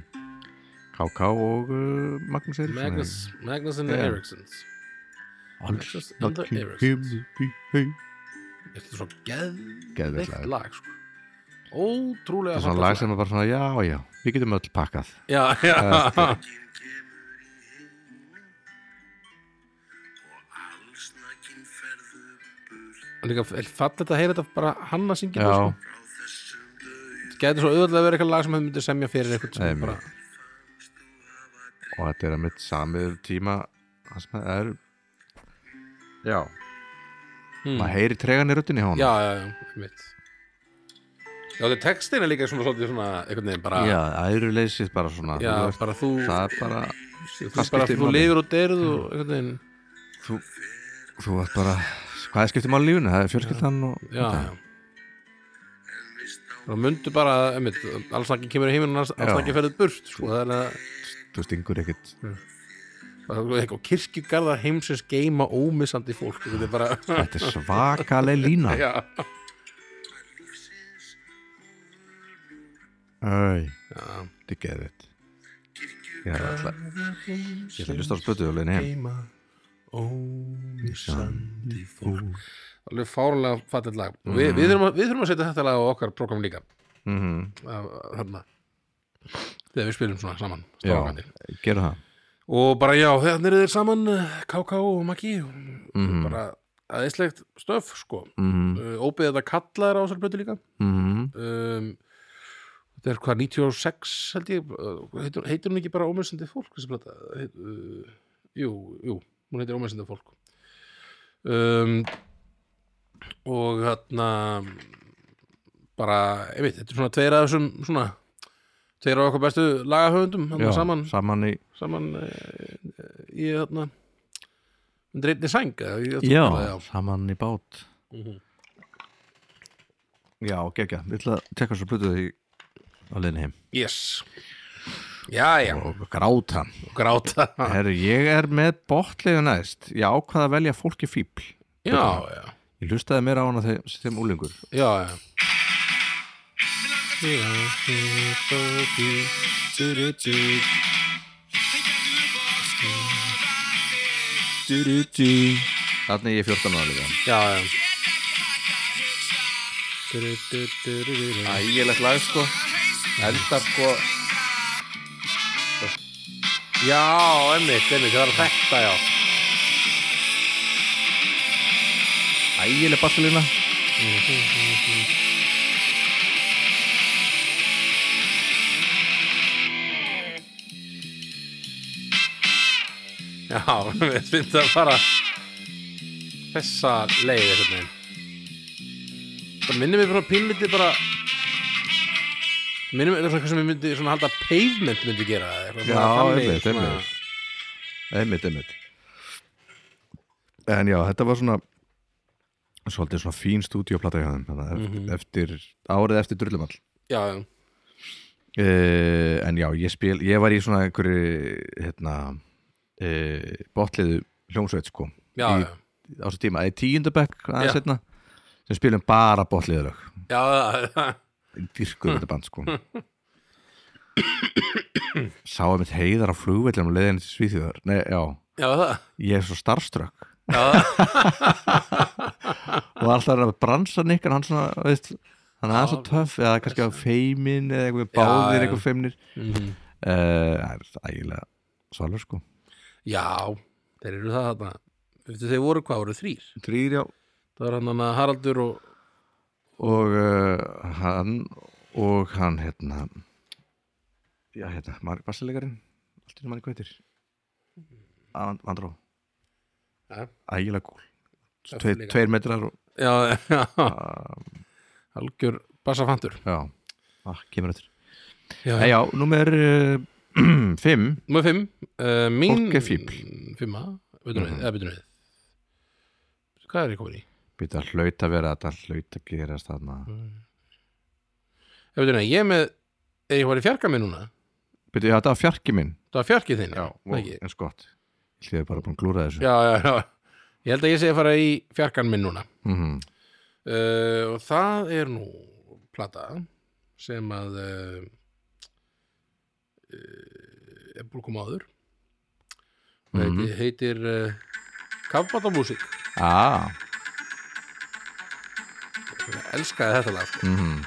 A: KK og uh, Magnús Eiríksson
B: Magnus, Magnus and
A: Yeah.
B: the Eriksons Magnús and the Eriksons
A: þetta
B: Þetta er svo geðveikt
A: Geðveikt lag.
B: lag sko. Ótrúlega
A: er svona lag sem er bara svona já já, við getum öll pakkað
B: (laughs) Já, já
C: Allsnakin ferðu burt
B: Líka fallet að heyra þetta bara hann að syngja þetta,
A: já,
B: sko. gæti svo auðvitað að vera eitthvað lag sem þau myndi semja fyrir eitthvað sem
A: Nei,
B: bara
A: og þetta er að mitt samið tíma það sem það er já
B: hmm.
A: maður heyri tregan í röttinni hjá hann
B: já, já, já, mitt já, þetta textin er líka svona svolítið svona einhvern veginn bara
A: Já, æruleysið bara svona
B: já,
A: þú veist,
B: bara þú,
A: Það er bara
B: þú,
A: hvað
B: bara,
A: skiptir
B: þú
A: máli?
B: lifir og derð og
A: Mm.
B: einhvern veginn
A: Þú, þú ert bara Hvað er skiptum á lífinu? Það er fjölskyldan og
B: já, já og myndu bara, einmitt, alls ekki kemur í heiminn alls
A: Já.
B: ekki ferðið burt sko, það er að,
A: Þú stingur
B: (laughs)
A: ekkert
B: það er eitthvað kirkjugarðar heimsins geima ómissandi fólk þetta er bara,
A: Þetta er svakaleg lína
B: já,
A: Æ,
B: já.
A: Þetta er geðvitt Ég er alltaf Ég ætla að hlusta á spötu og leiðin heim
B: heima ómissandi fólk alveg fárlega fattet lag mm. við, við, þurfum að, við þurfum að setja þetta lag á okkar program líka
A: mm
B: af- af- þarna þegar við spilum svona saman
A: Já,
B: strákarnir.
A: gera það
B: og bara já, þannig eru þeir saman eh, KK og Maggi
A: Mhm.
B: bara aðeinslegt stöf sko
A: mm
B: Uh, óbyggði þetta kallar á þessar blötu líka
A: -hmm.
B: um, þetta er hvað 96 held ég uh, heitir, heitir hún ekki bara ómessandi fólk þessi blata heit, uh, jú, jú, hún heitir ómessandi fólk um, og þarna bara, ég veit, þetta er svona tveir af þessum svona tveir af okkur bestu lagahöfundum þarna saman,
A: saman í
B: saman eh, eh, í þarna undir einni sæng eða ég-
A: já,
B: já,
A: saman í bát
B: Mhm.
A: Já, gegja Ég ætla að tekka svo plötu því á leiðin heim
B: yes já, já,
A: og gráta
B: gráta (laughs)
A: Herru, ég er með botliðu næst Ég ákvað að velja fólki fíbl
B: já, já
A: Ég hlustaði meira á hana þeim, þeim úlingur
B: Já, já
A: Þannig ég er 14 ára líka
B: Já, já
A: Ægilegt lag sko Enda sko
B: Já, einmitt, einmitt, það var þetta, já
A: ægileg bassalína
B: Já, við finnst að fara þessa leið eitthvað meginn Það minnir mér bara pínlítið bara minnir mér eitthvað sem ég myndi svona halda pavement myndi gera eða eitthvað
A: Já,
B: svona þannig,
A: einmitt,
B: svona-
A: einmitt. einmitt, einmitt en já, þetta var svona svolítið svona fín stúdíóplata hjá þeim þannig, mm
B: Mhm.
A: eftir, árið eftir drullumall
B: Já, já,
A: uh, en já, ég spil ég var í svona einhverju hérna, uh, botliðu hljómsveit sko,
B: já,
A: í,
B: já.
A: á þessu tíma í tíundabæk aðeins
B: Já.
A: hérna sem spilum bara botliðurög
B: já, já,
A: dyrkuðu þetta band sko sá að mitt heiðar á flugvellum leðin til Svíþjóðar, nei, já
B: já, það
A: ég er svo starfströkk
B: Já,
A: og alltaf er að bransa nikkan hann svona, veist, hann er aðeins svo töff eða kannski á feimin eða eitthvað báðir
B: já.
A: eitthvað feimnir
B: Mhm.
A: Eh, það er ægilega svalur sko
B: já þeir eru það þarna Veitu, Þeir voru hvað, voru þrýr
A: trýr já
B: Það var hann að Haraldur og
A: og uh, hann og hann hérna já hérna, Mark Bassalegarinn allt í manni kveitir Andró,
B: Já.
A: ægilega gúl
B: Töff
A: Tveir,
B: líka.
A: tveir metrar og,
B: Já, já,
A: uh,
B: algjör bassafantur
A: já, ah, kemur öttur
B: Já,
A: Nei, já, númer uh, (clears throat) fimm
B: Númer fimm uh, Mín
A: Fólk er fíbl.
B: Fimma Bytum við,
A: Mhm.
B: eða bytum við Hvað er ég komin í?
A: býta hlaut að vera þetta hlaut að gerast þarna
B: Eða bytum við, ég er með Er ég var í fjarka minn núna?
A: býta, já, þetta var fjarki minn
B: Það var fjarkið þinn
A: og,
B: ekki?
A: en skott ég hliði bara búin að glúra þessu
B: já, já, já Ég held að ég segi að fara í fjarkan minn núna
A: Mhm.
B: uh, Og það er nú Plata Sem að uh, uh, Er búin að koma áður mm
A: Mhm.
B: -hmm. Heitir uh, Kafbatamúsík
A: ah,
B: Elskaði þetta lag sko.
A: mhm.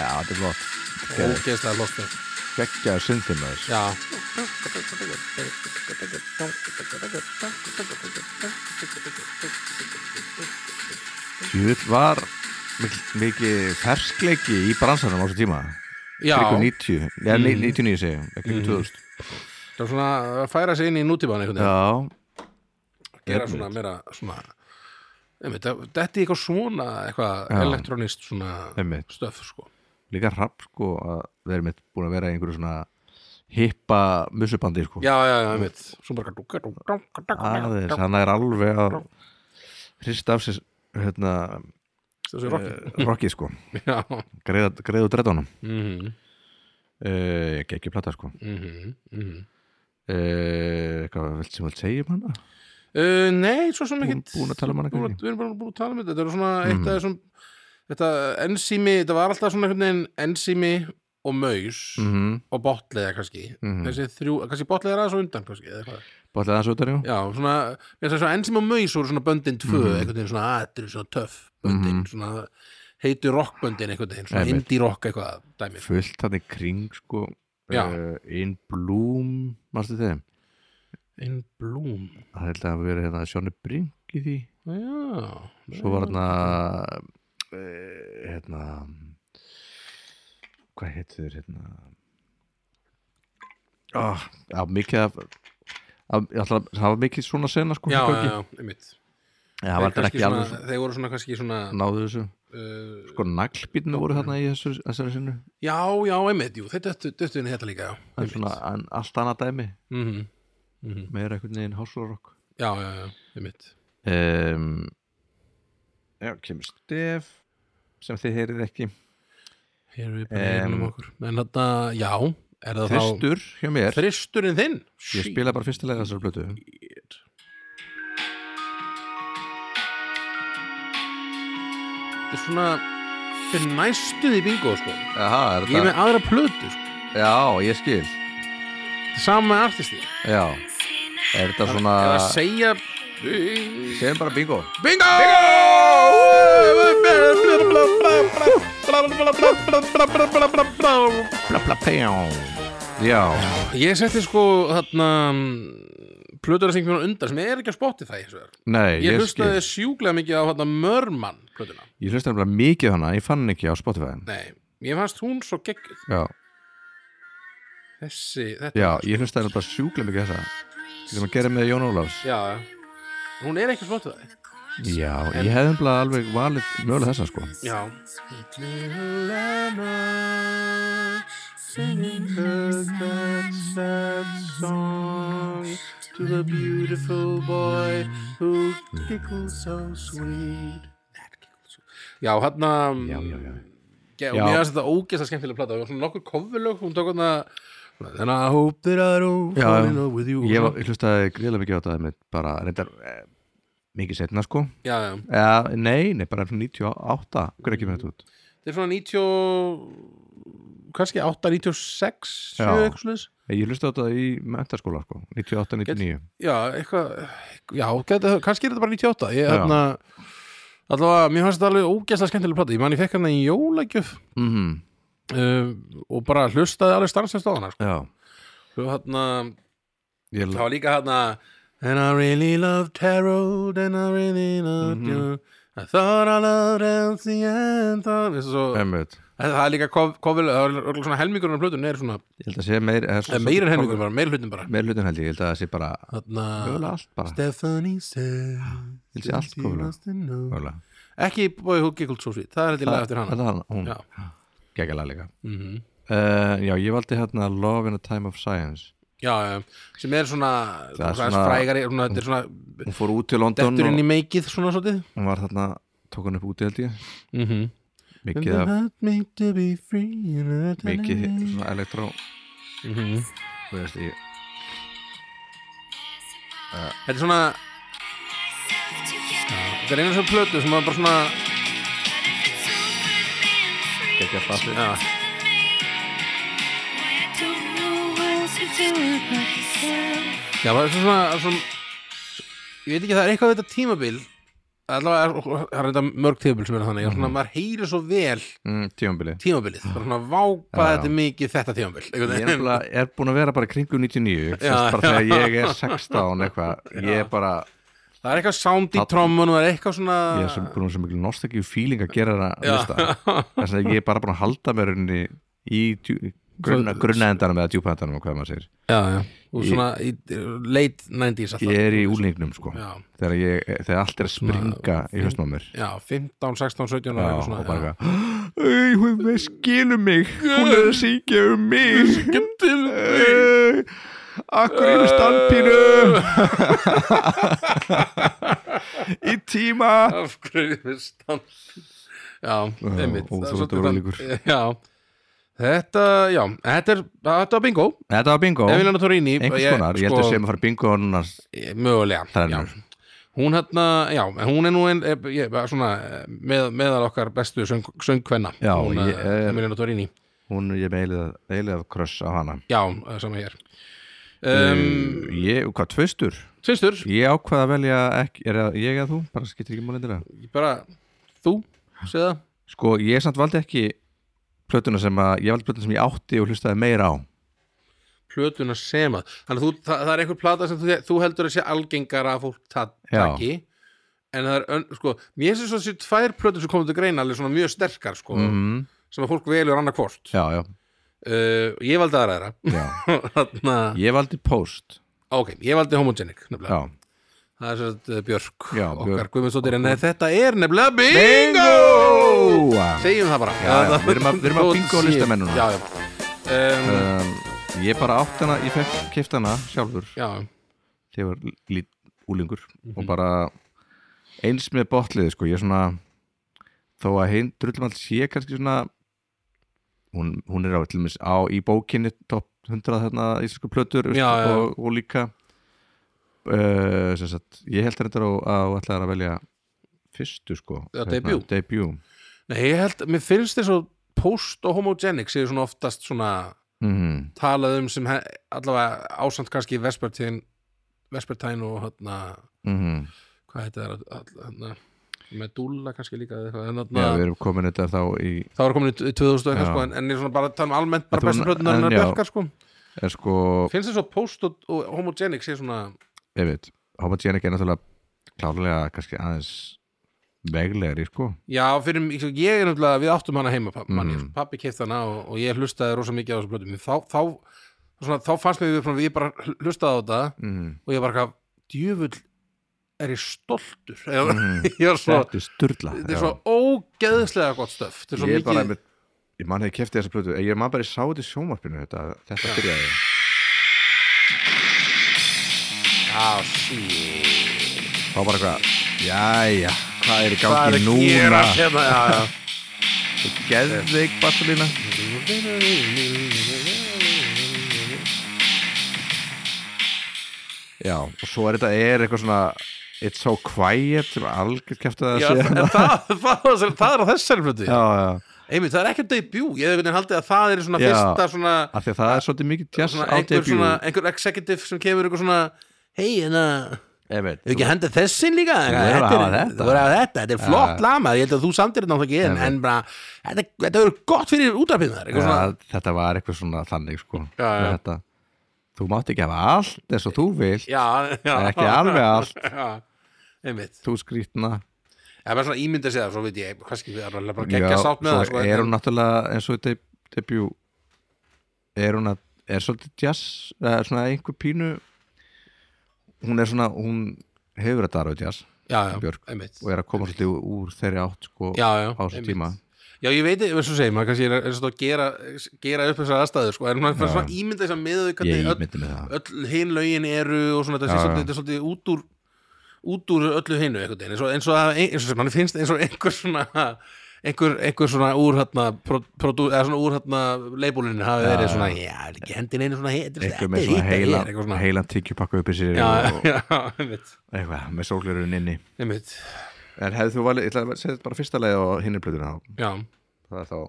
A: Já, þetta er flott. Äh,
B: Ógeðslega flott sko.
A: Gekkjaður syndið með þessu.
B: Já
A: Júl var mikil- mikið ferskleiki í bransanum á þessu tíma
B: Já, Mhm.
A: kringu 90, eða mm. 99 segjum kringu 2000
B: það er svona að færa sig inn í nútíman einhvern veginn,
A: Já,
B: gera
A: einmitt.
B: svona meira svona, einmitt, þetta er eitthvað svona eitthvað
A: Já.
B: elektronist svona
A: einmitt
B: stöf, sko
A: Líka hrapp sko að vera mitt búin að vera í einhverju svona hippa mussubandi sko
B: Já, já, já, einmitt, svona bara dúka, dúka, dúka,
A: aðeins,
B: dúka,
A: hann er alveg að hrista af sér hérna
B: þessu rocki
A: rocki sko,
B: Já,
A: greiða greið og dreita honum
B: mhm,
A: uh, ekki plata sko
B: mhm, mhm
A: uh, eitthvað vilt sem vilt segja um hana
B: Uh, nei, svo sem
A: Búin-
B: ekkert
A: búin að tala um Mhm. hana
B: Búin að-
A: kannski?
B: Við erum bara búin að tala um þetta Þetta er svona eitt af þessum Þetta ensími, þetta var alltaf svona einhvern veginn ensími og maus
A: mhm,
B: og botlega kannski
A: Mhm.
B: þessi þrjú, kannski botlega er aðeins á undan kannski, eða eitthvað.
A: bóttlega þessu út að rífa
B: Já, svona, mér finnst það svona ensími og maus voru svona böndin tvö,
A: Mhm.
B: einhvern veginn svona, að, þetta eru svona töff böndin, svona heitu rockböndin einhvern veginn, svona
A: Einmitt.
B: indie rock eitthvað dæmi.
A: fullt hann í kring sko
B: Já.
A: uh, In Bloom marstu þeim,
B: In Bloom
A: það held að hafa verið hérna Sjónu Brink í því
B: Já,
A: svo var hérna uh, hérna hvað heitir þeir hérna ah, já, mikið af af- ég ætla að það var mikið svona sena sko
B: já,
A: í
B: já,
A: gangi.
B: já, einmitt
A: Já,
B: Þeir
A: var þetta
B: kannski
A: ekki alveg
B: svona- Þeir voru svona kannski svona
A: svo- náðu þessu
B: uh,
A: sko naglbítinu voru þarna í þessu, þessari sinu
B: Já, já, einmitt, jú, þeir döttu, döttu henni þetta líka, já,
A: en
B: einmitt.
A: svona en allt annað dæmi
B: Mm
A: meira einhvern veginn hásularokk
B: Já, já, já, einmitt.
A: um, Já, kemur stef sem þið heyrið ekki
B: Hér erum við bara um, um
A: Em,
B: okkur. En þetta, já, er það
A: Þristur hjá
B: þá...
A: mér
B: Þristurinn þinn?
A: Ég spila bara fyrstilega þessar blötu
B: Shit. Þetta er svona, þetta er næstuð í bingo, sko.
A: Aha,
B: Ég er
A: er þetta
B: með aðra plötu, sko.
A: Já, ég skil
B: Sama artisti
A: Já, er þetta svona
B: Eða segja
A: Segjum bara bingo
B: Bingo!
A: Já,
B: Ég setti sko þarna plötuna sem kemur undan sem er ekki á Spotify hins vegar.
A: nei,
B: Ég
A: ég,
B: hlustaði
A: skil
B: sjúklega mikið á þarna Mörmann plötuna.
A: Ég hlustaði nefnilega mikið á hana, ég fann ekki á Spotify
B: Nei, ég fannst hún svo geggjöð.
A: Já,
B: Þessi, þetta.
A: já, ég hlustaði nefnilega sjúklega mikið á þessa Sem að gera með Jón Ólafs
B: Já, hún er ekki á Spotify.
A: Já, ég hefði nefnilega alveg valið mögulega þessa sko
B: Já. To the beautiful boy who giggles so sweet Já, hann að
A: Já, já, já
B: Já,
A: Já.
B: mér finnst þetta ógeðslega skemmtilega plata og svona nokkur kofurlög, hún tók hann að Then I hope that I don't
A: Já,
B: fall
A: já.
B: in love with you
A: Ég, var, ég hlustaði greiðlega mikið á þetta einmitt, bara reyndar eh, mikið setna sko
B: Já, já,
A: ja, Nei, nei, bara 98 Hvernig kemur þetta út?
B: þetta er svona 90 kannski 8, 96 7,
A: Já.
B: eitthvað slags
A: Ég hlustaði á þetta í mentaskóla sko 98, 99
B: já, eitthvað já, gæti, kannski er þetta bara 98 ég,
A: Já.
B: hérna, allavega, mér fannst þetta alveg ógeðslega skemmtilega plata, ég man ég fekk hérna í jólagjöf
A: mm
B: uh, og bara hlustaði alveg starfsins á hana sko.
A: Já,
B: og hérna,
A: ég,
B: það var líka hérna and I really love tarot and I really love
A: Mhm.
B: you I thought I loved at the end of-" Þessu svo,
A: einmitt,
B: það er líka kof, kofil, það er örugglega svona helmingurinn af plötunni er svona,
A: ég held að sé meir, er,
B: eh, meira en helmingurinn bara, meira hlutin bara
A: meir hlutin held ég, ég held að það sé bara
B: hérna,
A: mögulega allt bara
B: Stephanie says
A: Ég sé allt
B: she
A: kofil.
B: wants to know.
A: mögulega
B: ekki Boy Who Giggled So Sweet það er þetta í lag eftir hana
A: Þetta er hann, hún,
B: Já.
A: geggjala líka
B: mm
A: uh, Já, ég valdi hérna Love in a Time of Science
B: já, já, sem er svona
A: Það er
B: svona
A: svona-
B: frægari, svona, þetta er svona
A: Hún fór út til London
B: dettur inn í
A: og
B: meikið svona svolítið
A: hún var þarna, tók hann upp úti held ég
B: mm
A: Mhm.
B: -hmm.
A: Mikið af,
B: me to be free and I-
A: mikið svona elektró
B: Mhm.
A: Þú veist, ég
B: þetta er svona þetta er einu svona plötu sem var bara svona
A: geggja fassi
B: já, já það er svona, svona ég veit ekki það er eitthvað við þetta tímabil allavega er, það er þetta mörg tímabil sem er þannig mm
A: Mhm.
B: svona, maður heyri svo vel
A: mm, Tíumbili
B: tímabilið, bara svona vápa
A: Já, já.
B: þetta er mikið þetta tímabil einhvern
A: Ég
B: (laughs)
A: er,
B: veginn.
A: nefnilega- er búin að vera bara kringu 99 já,
B: Já,
A: bara þegar ég er 16 eitthvað, ég er bara
B: það er eitthvað sound í
A: Þarna-
B: trommun og það er eitthvað svona
A: ég er sem, búin að vera svo mikil nostalgíu feeling að gera þarna
B: Já.
A: lista þess að ég er bara búin að halda mér henni í djú- grunna, grunna endanum eða djúpa endanum og hvað maður segir
B: já, já. og svona í, late 90s alltaf.
A: ég er í úlingnum sko
B: já,
A: þegar, ég, þegar allt er að springa í höstum á mér
B: já, 15, 16, 17 og
A: Já,
B: eitthvað
A: og
B: svona
A: bara eitthvað hún er skilu mig hún er að syngja um mig Æ, akkur í með standpínu í tíma
B: af hverju við stand já, einmitt
A: og
B: Það er
A: þú ert
B: svolítið
A: ólíkur.
B: þann- já Þetta, já, þetta er, þetta var bingo
A: þetta var bingo
B: Emiliano Torini
A: einhvers konar, ég sko- held að segja maður að fara í bingo og annars
B: sko, mögulega
A: Þrennar.
B: já. hún hérna, já, en hún er nú ein, e, e, svona, eh, með, meðal okkar bestu söng, söngkvenna
A: Já,
B: hún, eh,
A: ég er-
B: Emiliano Torini
A: hún ég meilið eilið kröss á hana
B: já, eh, sama hér um,
A: ég, hvað, tvistur?
B: Tvistur,
A: ég ákvað að velja ekki, er það ég eða þú? bara skiptir ekki múlindilega
B: ég bara þú, segða
A: sko, ég samt valdi ekki plötuna sem að, ég valdi plötuna sem ég átti og hlustaði meira á
B: plötuna sem að þannig að þú, það, það er einhver plata sem þú, þú heldur að sé algengara að fólk ta-
A: Já.
B: taki en það er, ön, sko, mér finnst þess að þessi tvær plötur sem komum til greina alveg svona mjög sterkar sko,
A: mm.
B: sem að fólk velur annað hvort uh,
A: já, já,
B: ég valdi aðra
A: já
B: þeirra (laughs) þarna,
A: ég valdi post
B: ok, ég valdi homogenic nefnilega
A: já,
B: Það er sérst uh, Björk
A: Já,
B: okkar
A: Björk.
B: Guðmundsdóttir en þetta er nefnilega bingo!
A: Bingo!
B: Segjum það bara
A: Já, já, við erum að- við erum að
B: Þótt
A: bingo
B: sé-
A: listamennuna.
B: Já, já um,
A: um, ég bara átti hana, ég fekk kipt hana sjálfur
B: Já,
A: þegar ég var lít úlingur
B: Mhm.
A: og bara eins með botlið sko, ég svona þó að hinn drullum alls sé kannski svona hún, hún er á, til dæmis á í bókinni top 100 þarna íslensku
B: Já,
A: plötur veistu,
B: já.
A: og, og líka uh, sem sagt, ég held þetta á að ætlaði að velja fyrstu sko
B: Já,
A: hérna,
B: debut.
A: debut.
B: nei, ég held, mér finnst þess að post og homogenic séu svona oftast svona
A: mm,
B: talað um sem he- allavega ásamt kannski Vespertine Vespertine og hérna
A: mm,
B: hvað heitir það all- hérna, Medulla kannski líka eða eitthvað, en
A: já, við
B: þarna,
A: erum komin þetta þá í
B: það var komin í 2000 og eitthvað
A: Já.
B: sko, en, en ég er svona bara að tala um almennt bara
A: Þetta var-
B: bestu plötunar hennar
A: en já.
B: Bjarkar sko
A: er sko,
B: finnst þess að Post og, og Homogenic sé svona
A: ég veit homogenic er náttúrulega klárlega kannski aðeins veglegri sko
B: já fyrir mig- sko, ég er náttúrulega við áttum hana heima pappi,
A: Mm.
B: mm. pappi keift hana og, og ég hlustaði rosa mikið á þessu plötum þá, þá, svona, þá fannst mér við, svona, ég bara hlustaði á þetta
A: mm,
B: og ég bara hvað djöfull er ég stoltur (laughs) eða, ég var svo
A: Mm, þetta er sturla
B: þetta er svo ógeðslega gott stöf þetta er svo
A: ég er
B: mikið
A: bara einmitt ég man hefði keftið þessa plötu ég man bara ég sá þetta í sjónvarpinu þetta, þetta byrjaði
B: ah, shit.
A: þá bara eitthvað jæja, hvað er í
B: hvað er
A: gangi
B: að
A: núna
B: gera hérna já, já.
A: (laughs) geðveik basulína já, og svo er þetta er eitthvað svona it's so quiet sem algjörð keftið að
B: Já,
A: sé
B: en það, það, það, það er á þessari plötu
A: já, já,
B: einmitt, það er ekkert debut ég hef einhvern veginn haldið að það er svona
A: Já.
B: fyrsta svona,
A: af því að það er svolítið mikið jazz
B: svona
A: á
B: einhver,
A: debut
B: svona, einhver executive sem kemur eitthvað svona hérna, hei, en að
A: ég veit,
B: Hefur ekki henda þessin líka?
A: verður að
B: Þetta er-
A: hafa þetta.
B: Þú verður að hafa þetta, þetta er flott
A: Ja.
B: lama Ég held að þú samtir þetta náttúrulega ekki en,
A: Nei, nei.
B: en bara, þetta, þetta verður gott fyrir útarpið þar
A: ja,
B: eitthvað svona
A: þetta var eitthvað svona þannig sko
B: Já, já.
A: með þetta. þú mátt ekki hafa allt eins og þú vilt
B: Já, já
A: en ekki alveg allt
B: (laughs) Já, einmitt
A: þú skrýtna
B: Það er svona ímynda sig það, svo veit ég kannski við erum bara að
A: Já,
B: gegja sátt með
A: svo
B: það sko,
A: er
B: en-
A: hún náttúrulega eins og í deb- debut er hún að er svolítið jazz eða svona einhver pínu hún er svona hún hefur þetta aðra við jazz
B: Já, já,
A: Björk.
B: einmitt
A: og er að koma svolítið úr þeirri átt sko
B: Já, já,
A: á þessu
B: einmitt.
A: tíma
B: Já, ég veit, eins og segir maður, kannski er, er svona að gera, gera upp þessar aðstæður sko, en hún er
A: Já.
B: svona ímynda þess að miða við
A: ég
B: hvernig öll,
A: ímyndi með það
B: öll hinn lögin eru og svona þetta
A: Já,
B: er
A: já.
B: svolítið- þetta er svolítið út úr út úr öllu hinu einhvern veginn eins og, eins og, það- eins og sem mann finnst eins og einhver svona einhver, einhver svona úr hérna pro- produ- eða svona úr hérna leibúlinu hafi verið svona já, er ekki hendin einu svona hit,
A: einhver með svona heilan,
B: eitthvað svona
A: heilan tíkjupakka upp í sér
B: já, (laughs)
A: og,
B: já, einmitt,
A: og eitthvað með sólurinn inni
B: einmitt
A: en hefðu þú valið, ég ætla að segja þetta bara fyrsta leið á hinni plötuna þá,
B: já,
A: það er þá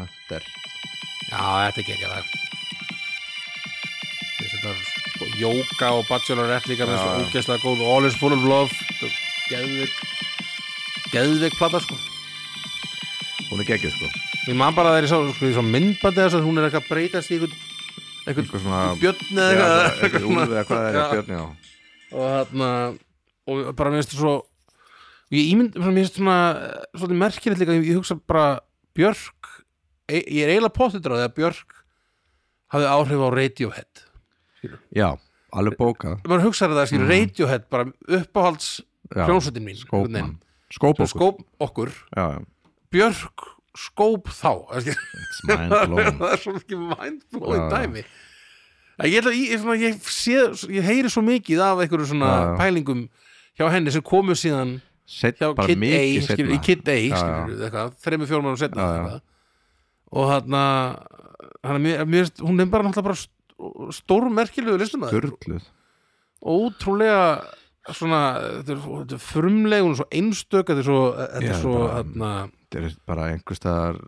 A: Hunter
B: já, þetta er ekki það þess að þetta er jóka og bachelorette líka með
A: Já,
B: svona
A: já.
B: úgeðslega góð all is full of love þetta er geðveik geðveik plata sko
A: hún er geggjöð sko
B: Ég man bara þegar ég sá, sko, ég sá myndbandi þess að hún er eitthvað að breytast í einhvern einhvern
A: eitthvað svona
B: björn
A: Já,
B: eða
A: eitthvað-
B: eitthvað,
A: eitthvað úlfið eða hvað það er
B: Já.
A: í björn, já
B: og þarna og bara mér finnst það svo ég ímynd, svona, mér finnst svona eh, svolítið merkilegt líka, ég, ég hugsa bara Björk, e, ég er eiginlega pottitur á því að Björk hafði áhrif á Radiohead
A: já, alveg bókað
B: maður hugsaði það, skilur, Radiohead bara uppáhalds
A: Mhm. Já,
B: hljónsutin mín
A: skópmann skóp
B: okkur.
A: okkur skóp.
B: skóp okkur,
A: Já, já.
B: Björk skóp þá, eða skilur
A: it's
B: (laughs) það er svo mikið mindblowing
A: Já, já.
B: dæmi En ég, ætla, ég, ég, svona, ég, sé, ég heyri svo mikið af einhverju svona
A: Já, já.
B: pælingum hjá henni sem komu síðan
A: Sett
B: hjá
A: bara
B: Kid A,
A: mikið
B: skilur,
A: seinna.
B: í Kid A
A: Já, já.
B: skilur, eitthvað, þreimur fjórum árum setna
A: Já, já.
B: eitthvað. og hann hann er mér, mér, finnst- hún er bara náttúrulega bara st- stórmerkilegu listamæður
A: Sturluð
B: ótrúlega svona þetta er, svo- þetta er frumleg, hún er svo einstök þetta er svo, þetta
A: Já,
B: er svo
A: bara-
B: hana,
A: Það er bara einhver staðar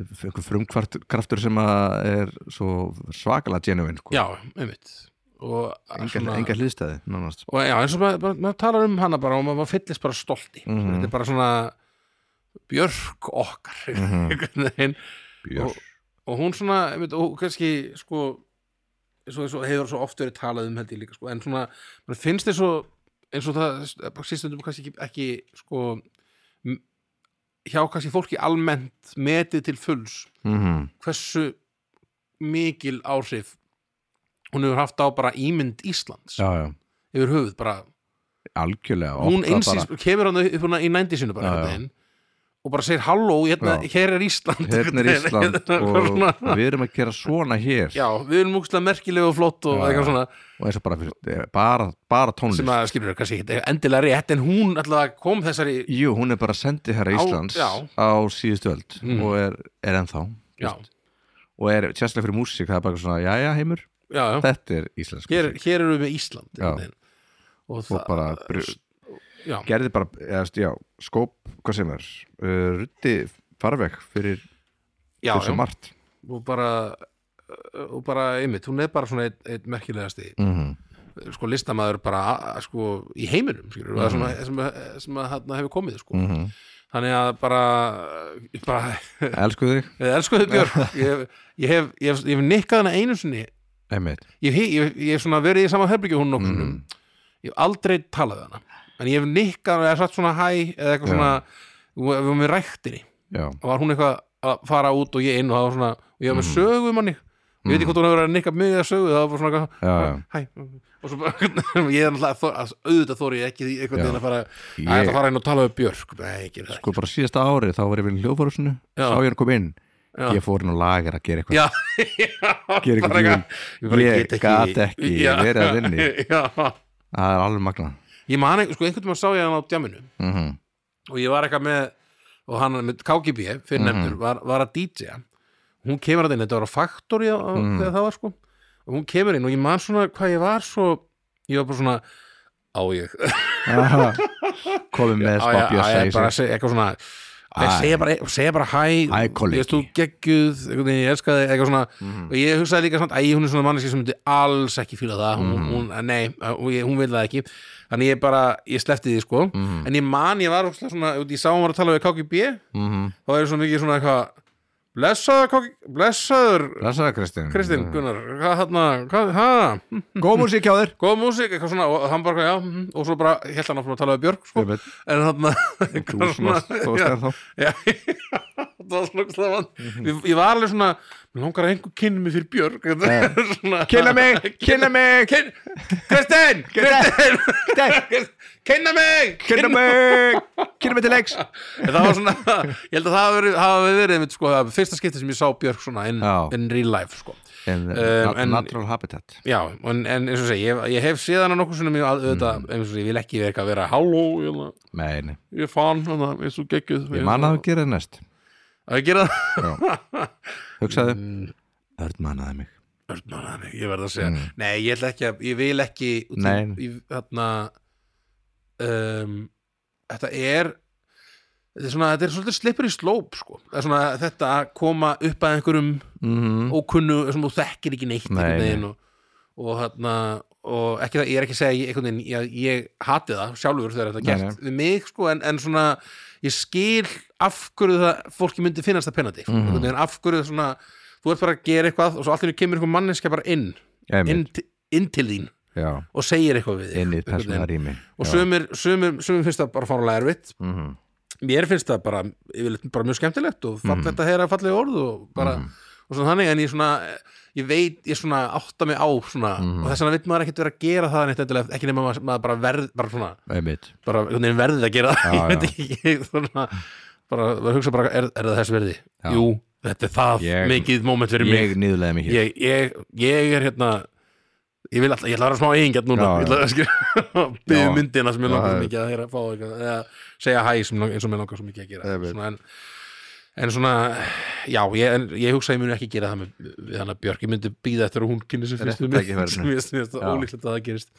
A: einhver frumkraftur sem að er svo svakalega genuine sko.
B: já, einmitt og
A: enga, enga hlýðstæði
B: (laughs)
A: nánast
B: og já, eins og maður, maður, maður talar um hana bara og maður maður fyllist bara stolti
A: Mhm.
B: þetta er bara svona björk okkar
A: Mhm.
B: (laughs) einhvern veginn.
A: Björn.
B: Og- og hún svona, einmitt, og kannski sko, svo, svo hefur svo oft verið talað um held ég líka, sko, en svona maður finnst þess svo, eins og það sístundum kannski ekki, ekki sko m- hjá kannski fólki almennt metið til fulls
A: Mhm.
B: hversu mikil áhrif hún hefur haft á bara ímynd Íslands
A: já, já,
B: yfir höfuð, bara
A: algjörlega
B: hún
A: opnar
B: einsins, kemur hann upp hana í nændisinu bara
A: Já,
B: einhvern
A: já.
B: veginn og bara segir halló, hérna,
A: Já.
B: hér er Ísland (laughs)
A: bara hérna er Ísland
B: Eitthvað svona.
A: og við erum að gera svona hér
B: já, við erum múkslega merkilega og flott og
A: Já, já.
B: eitthvað svona
A: og eins og bara, fyrir- bara, bara tónlist
B: sem að skilur kannski ekki endilega rétt en hún alltaf kom þessari
A: Jú, hún er bara sendið herra
B: Á-
A: Íslands
B: já.
A: á síðustu öld
B: Mm.
A: og er, er ennþá
B: já,
A: og er tjæslega fyrir músík, það er bara svona jæja heimur,
B: já, já,
A: þetta er íslensk
B: hér,
A: músík.
B: hér erum við Ísland
A: Já.
B: einhvern veginn. og
A: og
B: það
A: bara br-
B: já,
A: gerði bara, eða, þú veist, já, skóp hvað sem er, uh, rutti farveg fyrir
B: já,
A: þessu
B: já,
A: margt
B: og bara eh, og bara einmitt, hún er bara svona eitt, eitt merkilegasti
A: Mhm.
B: sko listamaður bara a- sko í heiminum skilur, mm sem, að- sem, að- sem að hann hefur komið sko.
A: Mhm.
B: þannig að bara, bara
A: Elsku þig,
B: Við elskuðu Björk
A: (laughs)
B: ég, hef- ég, hef, ég, hef, ég hef nikkað hana einu sinni
A: einmitt
B: Ég hef, ég, hef- ég hef svona verið í sama herbyggju hún nokkunum
A: Mhm.
B: Ég hef aldrei talað við hana En ég hef nikkað hana eða satt svona hæ Eða eitthvað
A: Já.
B: svona Við varum við ræktinni
A: Já,
B: Og var hún eitthvað að fara út og ég inn Og það var svona Og ég hef
A: Mm.
B: með sögu um hann Ég veit ekki hvort hún hefur verið að nikka mig eða sögu Það var bara svona eitthvað
A: Já, já.
B: Hæ Og svo bara (laughs) Ég er náttúrulega þor- að- Auðvitað þóri ég ekki því Eitthvað
A: Já.
B: til að fara
A: Ég-
B: Ég ætla að fara inn og tala við Björk Nei, ég geri það
A: sko bara síðasta árið þá var ég við hljóðfórusinu,
B: Já.
A: sá ég hann kom inn
B: Já.
A: ég fór inn á lager að gera eitthvað
B: já, já
A: Gera ykkur
B: bara
A: grín.
B: ég bara
A: Ég
B: get ekki-
A: gat ekki
B: Já.
A: verið að vinni.
B: já.
A: það er alveg magna
B: ég man ekki, sko einhvern tímann sá ég hann á djaminu
A: mm
B: (laughs) og ég var eitthvað með og hann með KGB, fyrir
A: Mhm.
B: nefndur var, var að DJ-a hún kemur að inn, þetta var á Factory á,
A: Mhm.
B: þegar það var sko og hún kemur inn og ég man svona hvað ég var svo ég var bara svona á ég
A: komið
B: á
A: með
B: ég, á
A: spapja að
B: ég bara
A: segja
B: að segja eitthvað svona Nei,
A: Æ.
B: segja bara, segja bara hæ
A: Æ, kollegi. Mhm.
B: Ég veist, þú geggjuð, einhvern veginn, ég elska þig eitthvað svona, og ég hugsaði líka samt æ, hún er svona manneski sem myndi alls ekki fíla það hún,
A: Mhm.
B: hún, nei, hún, ég- hún vil það ekki þannig ég bara, ég sleppti því sko
A: Mhm.
B: en ég man, ég var ógeðslega svona ég sá hún var að tala við KGB
A: Mhm.
B: þá er svona mikið svona eitthvað blessaður, KGB, blessaður
A: blessaða Kristinn
B: Kristinn Gunnar, hvað hann hvað, ha, hm,
A: góð músík hjá
B: (laughs)
A: þér
B: góð músík, eitthvað svona og hann bara, já, hm, og svo bara held hann áfram að tala við Björk sko,
A: Einmitt.
B: en hann
A: þú sem að stóðst
B: já,
A: þér Mhm. þá
B: Já, (laughs) það var svona ógeðslega vand ég, ég var alveg svona, mér langar að einhver kynni mig fyrir Björk (laughs) Svona-
A: kynna mig, kynna mig
B: Kyn-
A: (laughs)
B: Kristinn, Kristinn (laughs) Kynna mig
A: kynna mig, kynna mig til leiks
B: En Það var svona, ég held að það hafi verið, hafi verið mitt, sko, það fyrsta skipti sem ég sá Björk svona in,
A: Já.
B: in real life sko.
A: en,
B: Um, en-
A: natural habitat
B: Já, en, en eins og segi, ég, ég hef séð hana nokkuð svona mjög að, auðvitað,
A: Mm.
B: eins og segi, ég vil ekki verka að vera halló, ég, held að-
A: nei, nei,
B: ég fann hana, ég er svo geggjuð
A: ég man að þú gera það næst
B: Að ég gera það
A: hugsaðu, Örn mannaði mig
B: Örn og Nanni, ég verð að segja Nei, ég ætla ekki að, ég vil ekki út í-
A: Mm. Nei.
B: í, þarna, um, Þetta er Þetta er svona, þetta er svolítið slipper í slóp sko. Það er svona þetta að koma upp að einhverjum
A: Mhm.
B: ókunnu sem þú þekkir ekki neitt
A: Nei,
B: einhvern
A: nei.
B: veginn og, og þarna og ekki það, ég er ekki að segja ég- einhvern veginn, ég, ég hati það sjálfur þegar þetta er
A: Nei,
B: gert við mig sko, en, en svona ég skil af hverju það fólki myndi finnast það penandi,
A: Mhm.
B: mm -hmm. af hverju það svona þú ert bara að gera eitthvað og svo allt í henni kemur einhver manneskja bara inn,
A: Einmitt,
B: inn, ti- inn til þín
A: já,
B: og segir eitthvað við þig
A: inn í
B: einhvern veginn.
A: persóna rými
B: og sumir, sumir, sumir finnst það bara fárlega erfitt
A: Mhm.
B: mér finnst það bara, yfirleitt, bara mjög skemmtilegt og fallegt að
A: Mm.
B: heyra fallega orð og bara, og svona þannig en ég svona, ég veit, ég svona átta mig á svona,
A: Mm.
B: og þess vegna veit maður ekkert vera að gera það neitt endilega, ekki nema maður, maður bara verð bara svona,
A: einmitt,
B: bara einhvern veginn verðið að gera það,
A: Já,
B: (laughs) ég veit ekki ég, svona, bara, maður hugsa bara, er, er það þess verði?
A: Já.
B: Jú, þetta er það
A: Ég-
B: mikið moment fyrir mig,
A: ég nýðlega mig hér
B: ég, ég, ég er hérna ég vil alltaf, ég ætla að vera smá eigingjart núna
A: Já,
B: ég ætla að skilja (laughs) byggja
A: Já.
B: myndina sem ég langar
A: Já,
B: svo
A: já.
B: mikið að heyra fá eitthvað, eða segja hæ sem, lang- eins og mér langar svo mikið að gera
A: Ég veit.
B: svona, en, en svona já, ég, en, ég hugsa að ég muni ekki gera það með, við hann að Björk, ég myndi býða eftir að hún kynni sem fyrst
A: Rétt
B: um mig, (laughs)
A: tækifærinu.
B: sem ég finnst það
A: Já.
B: ólíklegt að það gerist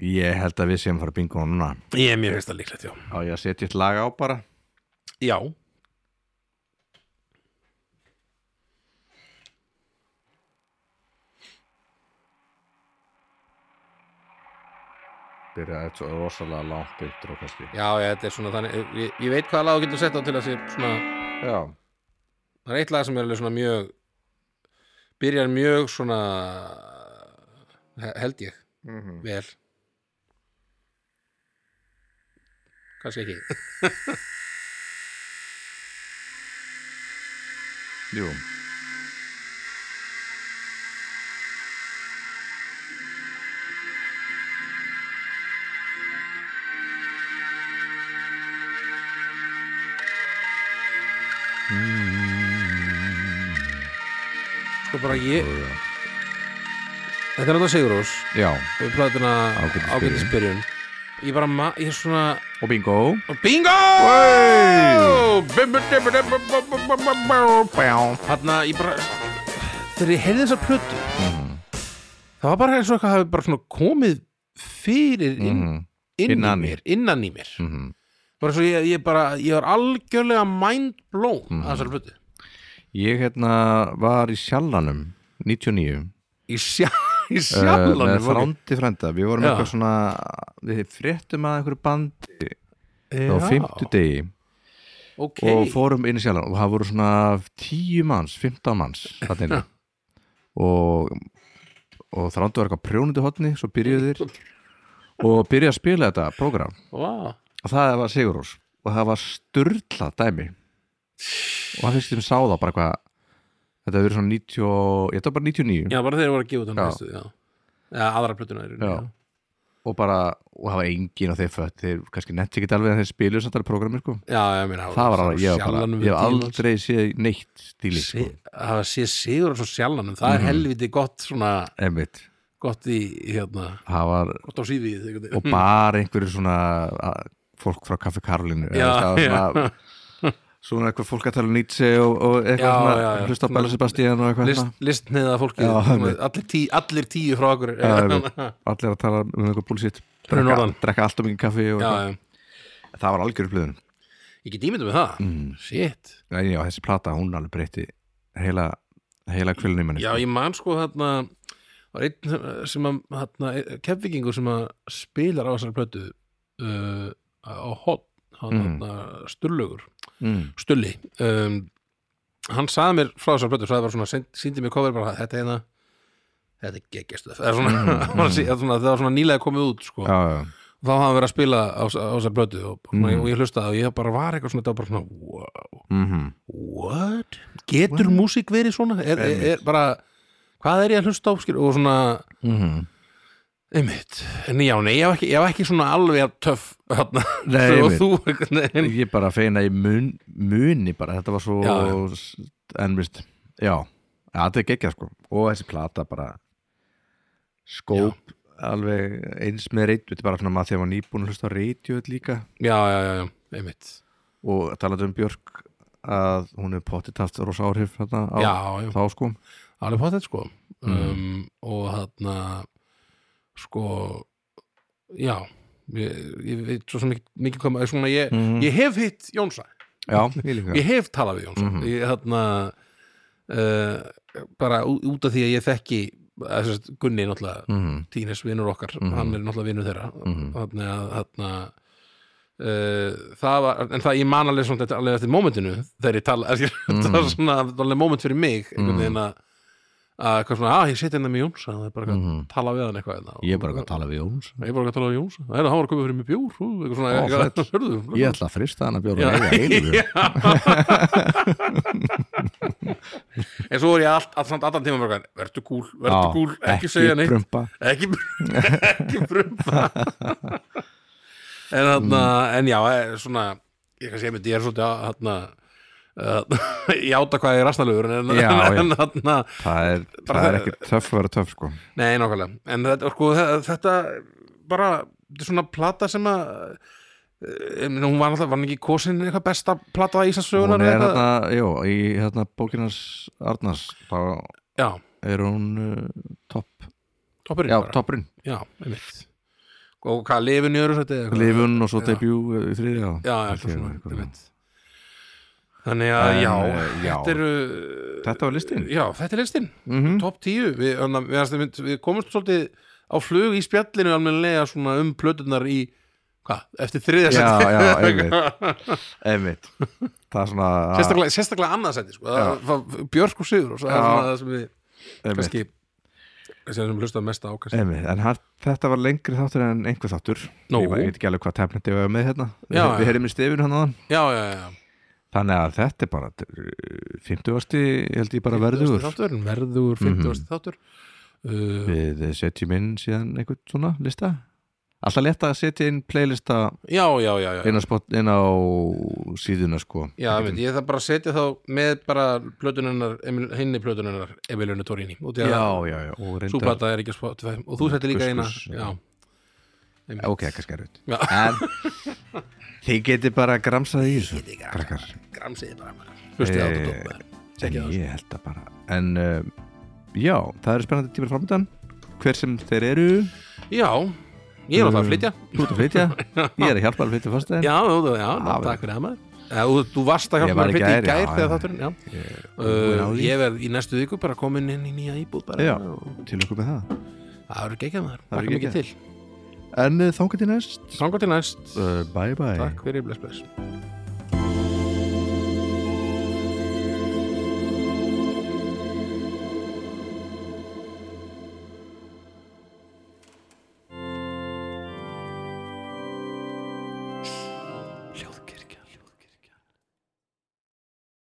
A: ég held að við séum að fara bingo núna
B: ég, mér finnst það líklegt, já
A: á ég að setja eitt lag á bara
B: já,
A: byrja eitt svo rosalega langt intro kannski
B: já, ég, þetta er svona þannig ég, ég veit hvaða lag þú getur sett á til að sé svona
A: já,
B: það er eitt lag sem er alveg svona mjög byrjar mjög svona he- held ég
A: Mhm.
B: vel kannski ekki
A: jú
B: sko bara ég þetta er náttúrulega Sigurós
A: já,
B: við plöðum
A: Ágætis
B: að ágætis byrjun ég bara ma ég er svona
A: og bingo
B: og bingo
A: Hey! Mm-hmm.
B: hann að ég bara þegar ég heyrði þessar plötu það var bara eins og eitthvað hafi bara svona komið fyrir inn,
A: Mhm.
B: inn í
A: Innan í.
B: mér innan í mér
A: Mhm. Mhm.
B: bara svo ég, ég bara, ég var algjörlega mind blown að þessari plötu
A: Ég hérna var í Sjallanum 99
B: Í, sjá, í
A: uh,
B: sjallanum
A: með
B: ok.
A: frándi frænda Við vorum
B: Já.
A: eitthvað svona við fréttum að einhverju bandi
B: Já,
A: á fimmtudegi
B: ok.
A: og fórum inn í Sjallan og það voru svona 10 manns, 15 manns þarna inni. og, og þrándu var eitthvað prjónundi hotni svo byrjuðu þeir og byrjuðu að spila þetta program
B: Vá.
A: og það var Sigurús og það var sturla dæmi og hann fyrst sem sá það bara hvað þetta hefur verið svona 90 og- þetta var bara 99
B: Já, bara þeir voru að gefa út hann
A: Já.
B: fyrstu, já. Já, aðra plötuna er
A: Já. og bara, og það var engin og þeir fött, þeir kannski nefnt ekki alveg að þeir spilu samt alveg prógrami sko
B: Já, já, mér
A: það var alveg, ég var bara, ég hef aldrei
B: sko.
A: séð neitt stíli sko, Mhm.
B: Það var sé Sigur svo sjallanum, það er helviti gott svona,
A: einmitt
B: gott í, hérna,
A: það var,
B: gott á sífið einhvern veginn.
A: og bara einhverju svona að, fólk frá Kaffi Karolínu eða,
B: Já,
A: það var svona,
B: já. (laughs)
A: svona eitthvað fólk að tala um Nietzsche og, og eitthvað
B: Já,
A: svona,
B: já, já.
A: hlusta á Bella Sebastian og eitthvað
B: List,
A: svona,
B: listneiða fólkið
A: Já, einmitt.
B: allir, tí, allir tíu frá okkur
A: Já,
B: (laughs)
A: einmitt. allir að tala um eitthvað búlsitt
B: Fyrir
A: drekka,
B: norðan.
A: drekka alltaf mikið kaffi og
B: já,
A: eitthvað.
B: já.
A: það var algjör upplöðun
B: ég get ímyndum með það
A: Mm.
B: shit,
A: en já, þessi plata, hún alveg breytti heila, heila kvölinu manni
B: já
A: sko.
B: ég man sko þarna var einn eh, sem að þarna, kefvikingur sem að spilar á þessari plötu uh, á hot hann
A: Mm.
B: þarna sturlugur
A: mm.
B: stulli um, hann saði mér frá þessari plötu svo það var svona, send- síndi mér cover bara þetta hérna þetta er geggjastuð það, mm, (laughs) mm. það var svona nýlega komið út sko.
A: Mhm. já, Mhm. já
B: þá hafa verið að spila á, á þessar blötu og, mm. og ég hlustaði og ég bara var eitthvað svona, þetta var bara svona wow,
A: Mhm.
B: what? Getur músík verið svona? Er, er, er bara, hvað er ég að hlusta á? Skil? Og svona,
A: Mhm.
B: einmitt en já, nei, ég var ekki, ég var ekki svona alveg að töff þarna,
A: Nei,
B: (laughs) og
A: einmitt.
B: þú nei,
A: ég er bara feina í mun, muni bara, þetta var svo
B: Já,
A: en veist, já ja, þetta er gekkja sko, og þessi plata bara skóp alveg eins með reit þetta er bara svona maður þegar maður nýbúin að hlusta á reitjöð líka
B: já, já, já, já, einmitt
A: og talaði um Björk að hún hefur pottið talt rosa áhrif þarna á
B: já, já,
A: þá sko
B: alveg pát þetta sko um, og þarna sko já, ég, ég veit svo sem mikið, mikið koma, svona ég, ég hef hitt Jónsa
A: já, ég líka
B: ég hef talað við Jónsson
A: Mhm.
B: ég þarna uh, bara ú- út af því að ég þekki að, sérst, Gunni náttúrulega mm.
A: Mhm,
B: Tínes vinnur okkar,
A: Mhm.
B: hann er náttúrulega vinnur þeirra
A: Mhm.
B: þannig að þarna Uh, það var, en það ég man alveg svona þetta alveg eftir mómentinu þegar ég tala, (laughs) mm. það
A: Mhm.
B: var svona það var alveg móment fyrir mig einhvern veginn að að hvað svona, að ég seti hérna með Jóns það er bara eitthvað að tala við hann eitthvað hérna.
A: Mhm. ég er bara að tala við Jóns
B: ég er bara að tala við Jóns, það er að hann var að koma fyrir mig bjór ú, eitthvað svona,
A: Ó,
B: (laughs) eitthvað, hörðu
A: ég ætla að frista hann að bjóra
B: Já.
A: eiga eilu
B: (laughs)
A: bjór.
B: en svo er ég allt, allt samt allan tíma bara, eitthvað, vertu kúl, vertu
A: Já,
B: kúl ekki, segja neitt,
A: prumpa.
B: ekki, (laughs) ekki brumpa en þarna en já, eh, svona ég kannski einmitt, ég er svolítið að þarna Uh, (laughs) ég áta hvað ég er rastalögur en,
A: Já, já.
B: en þarna
A: það er, það er ekki töff að vera töff sko
B: nei, nákvæmlega en þetta, sko, þe- þetta bara þetta er svona plata sem að eh, ég meina, hún var alltaf, var hann ekki kosin eitthvað besta plata í Íslandsögunar
A: hún er hérna, jú, í hérna bókinars Arnars, þá
B: já,
A: er hún uh, topp,
B: toppurinn
A: já,
B: bara.
A: toppurinn
B: Já, einmitt Og hvað, lifin í öðru sætti? eða hvað?
A: lifun og svo debut uh, í þriði já,
B: Já, já, eitthvað
A: Lifin,
B: svona,
A: eitthvað.
B: einmitt Þannig að,
A: En,
B: já,
A: eh, já.
B: þetta uh, eru
A: þetta var listin
B: Já, þetta er listin,
A: mm
B: (laughs) topp tíu Við, anna, við, við, við komumst svolítið á flug í spjallinu almennilega svona um plötunar í Hvað, eftir þriðja
A: já,
B: sætti (laughs)
A: já, einmitt einmitt, það er svona
B: Sérstaklega, sérstaklega annað sætti, sko
A: Já.
B: það, var Björk og Sigur og svo það er
A: Já.
B: svona það sem við
A: einmitt,
B: kannski sem sem hlustaðum mest á kannski
A: einmitt. en hann, þetta var lengri þáttur en einhver þáttur
B: Nú.
A: ég veit ekki alveg hvað tefnandi við erum með hérna
B: Já,
A: við
B: já.
A: heyrim í stefinu hann á hann
B: Já, já, já, já
A: þannig að þetta er bara uh, 50. held ég bara
B: 50.
A: verður
B: þáttur, verður 50.
A: Mhm.
B: þáttur uh,
A: við setjum inn síðan einhvern svona lista alltaf létt að setja inn playlista
B: já, já, já, já,
A: inn á, spot, inn á síðuna sko
B: já einmitt, ég þarf bara að setja þá með bara plötunennar, henni plötunennar Emiljónu Torini, út í
A: já,
B: að
A: já, já, og
B: sú
A: reyndar
B: plata er ekki að Spotify og þú settir líka eina
A: Kuskus,
B: já, einmitt.
A: ok, kannski er
B: Já.
A: auðvitað en þið geti bara gramsað í þessu krakkar
B: gramsiði bara hlustið á
A: Eh,
B: þetta
A: en
B: Tekja það,
A: ég held að bara en uh, já, það eru spennandi tímar framöndan hver sem þeir eru
B: já, ég er á það að flytja
A: Mm. þú ert að flytja, ég er að hjálpa að flytja fasta
B: já, já, já,
A: Já,
B: takk fyrir það maður Eða, þú, þú varst að hjálpa mér að
A: Ah, Ég var í
B: flytja í
A: gær, já,
B: gær þegar
A: já.
B: þátturinn, já
A: Ég- búin
B: Uh,
A: á því.
B: ég verð í næstu viku bara komin inn í nýja íbúð bara
A: Já.
B: og
A: til okkur með það
B: það verður geggjað maður,
A: Það verður
B: makka mikið til
A: en uh, þangar til næst
B: Sangar til næst,
A: uh, bye bye
B: takk fyrir, bless bless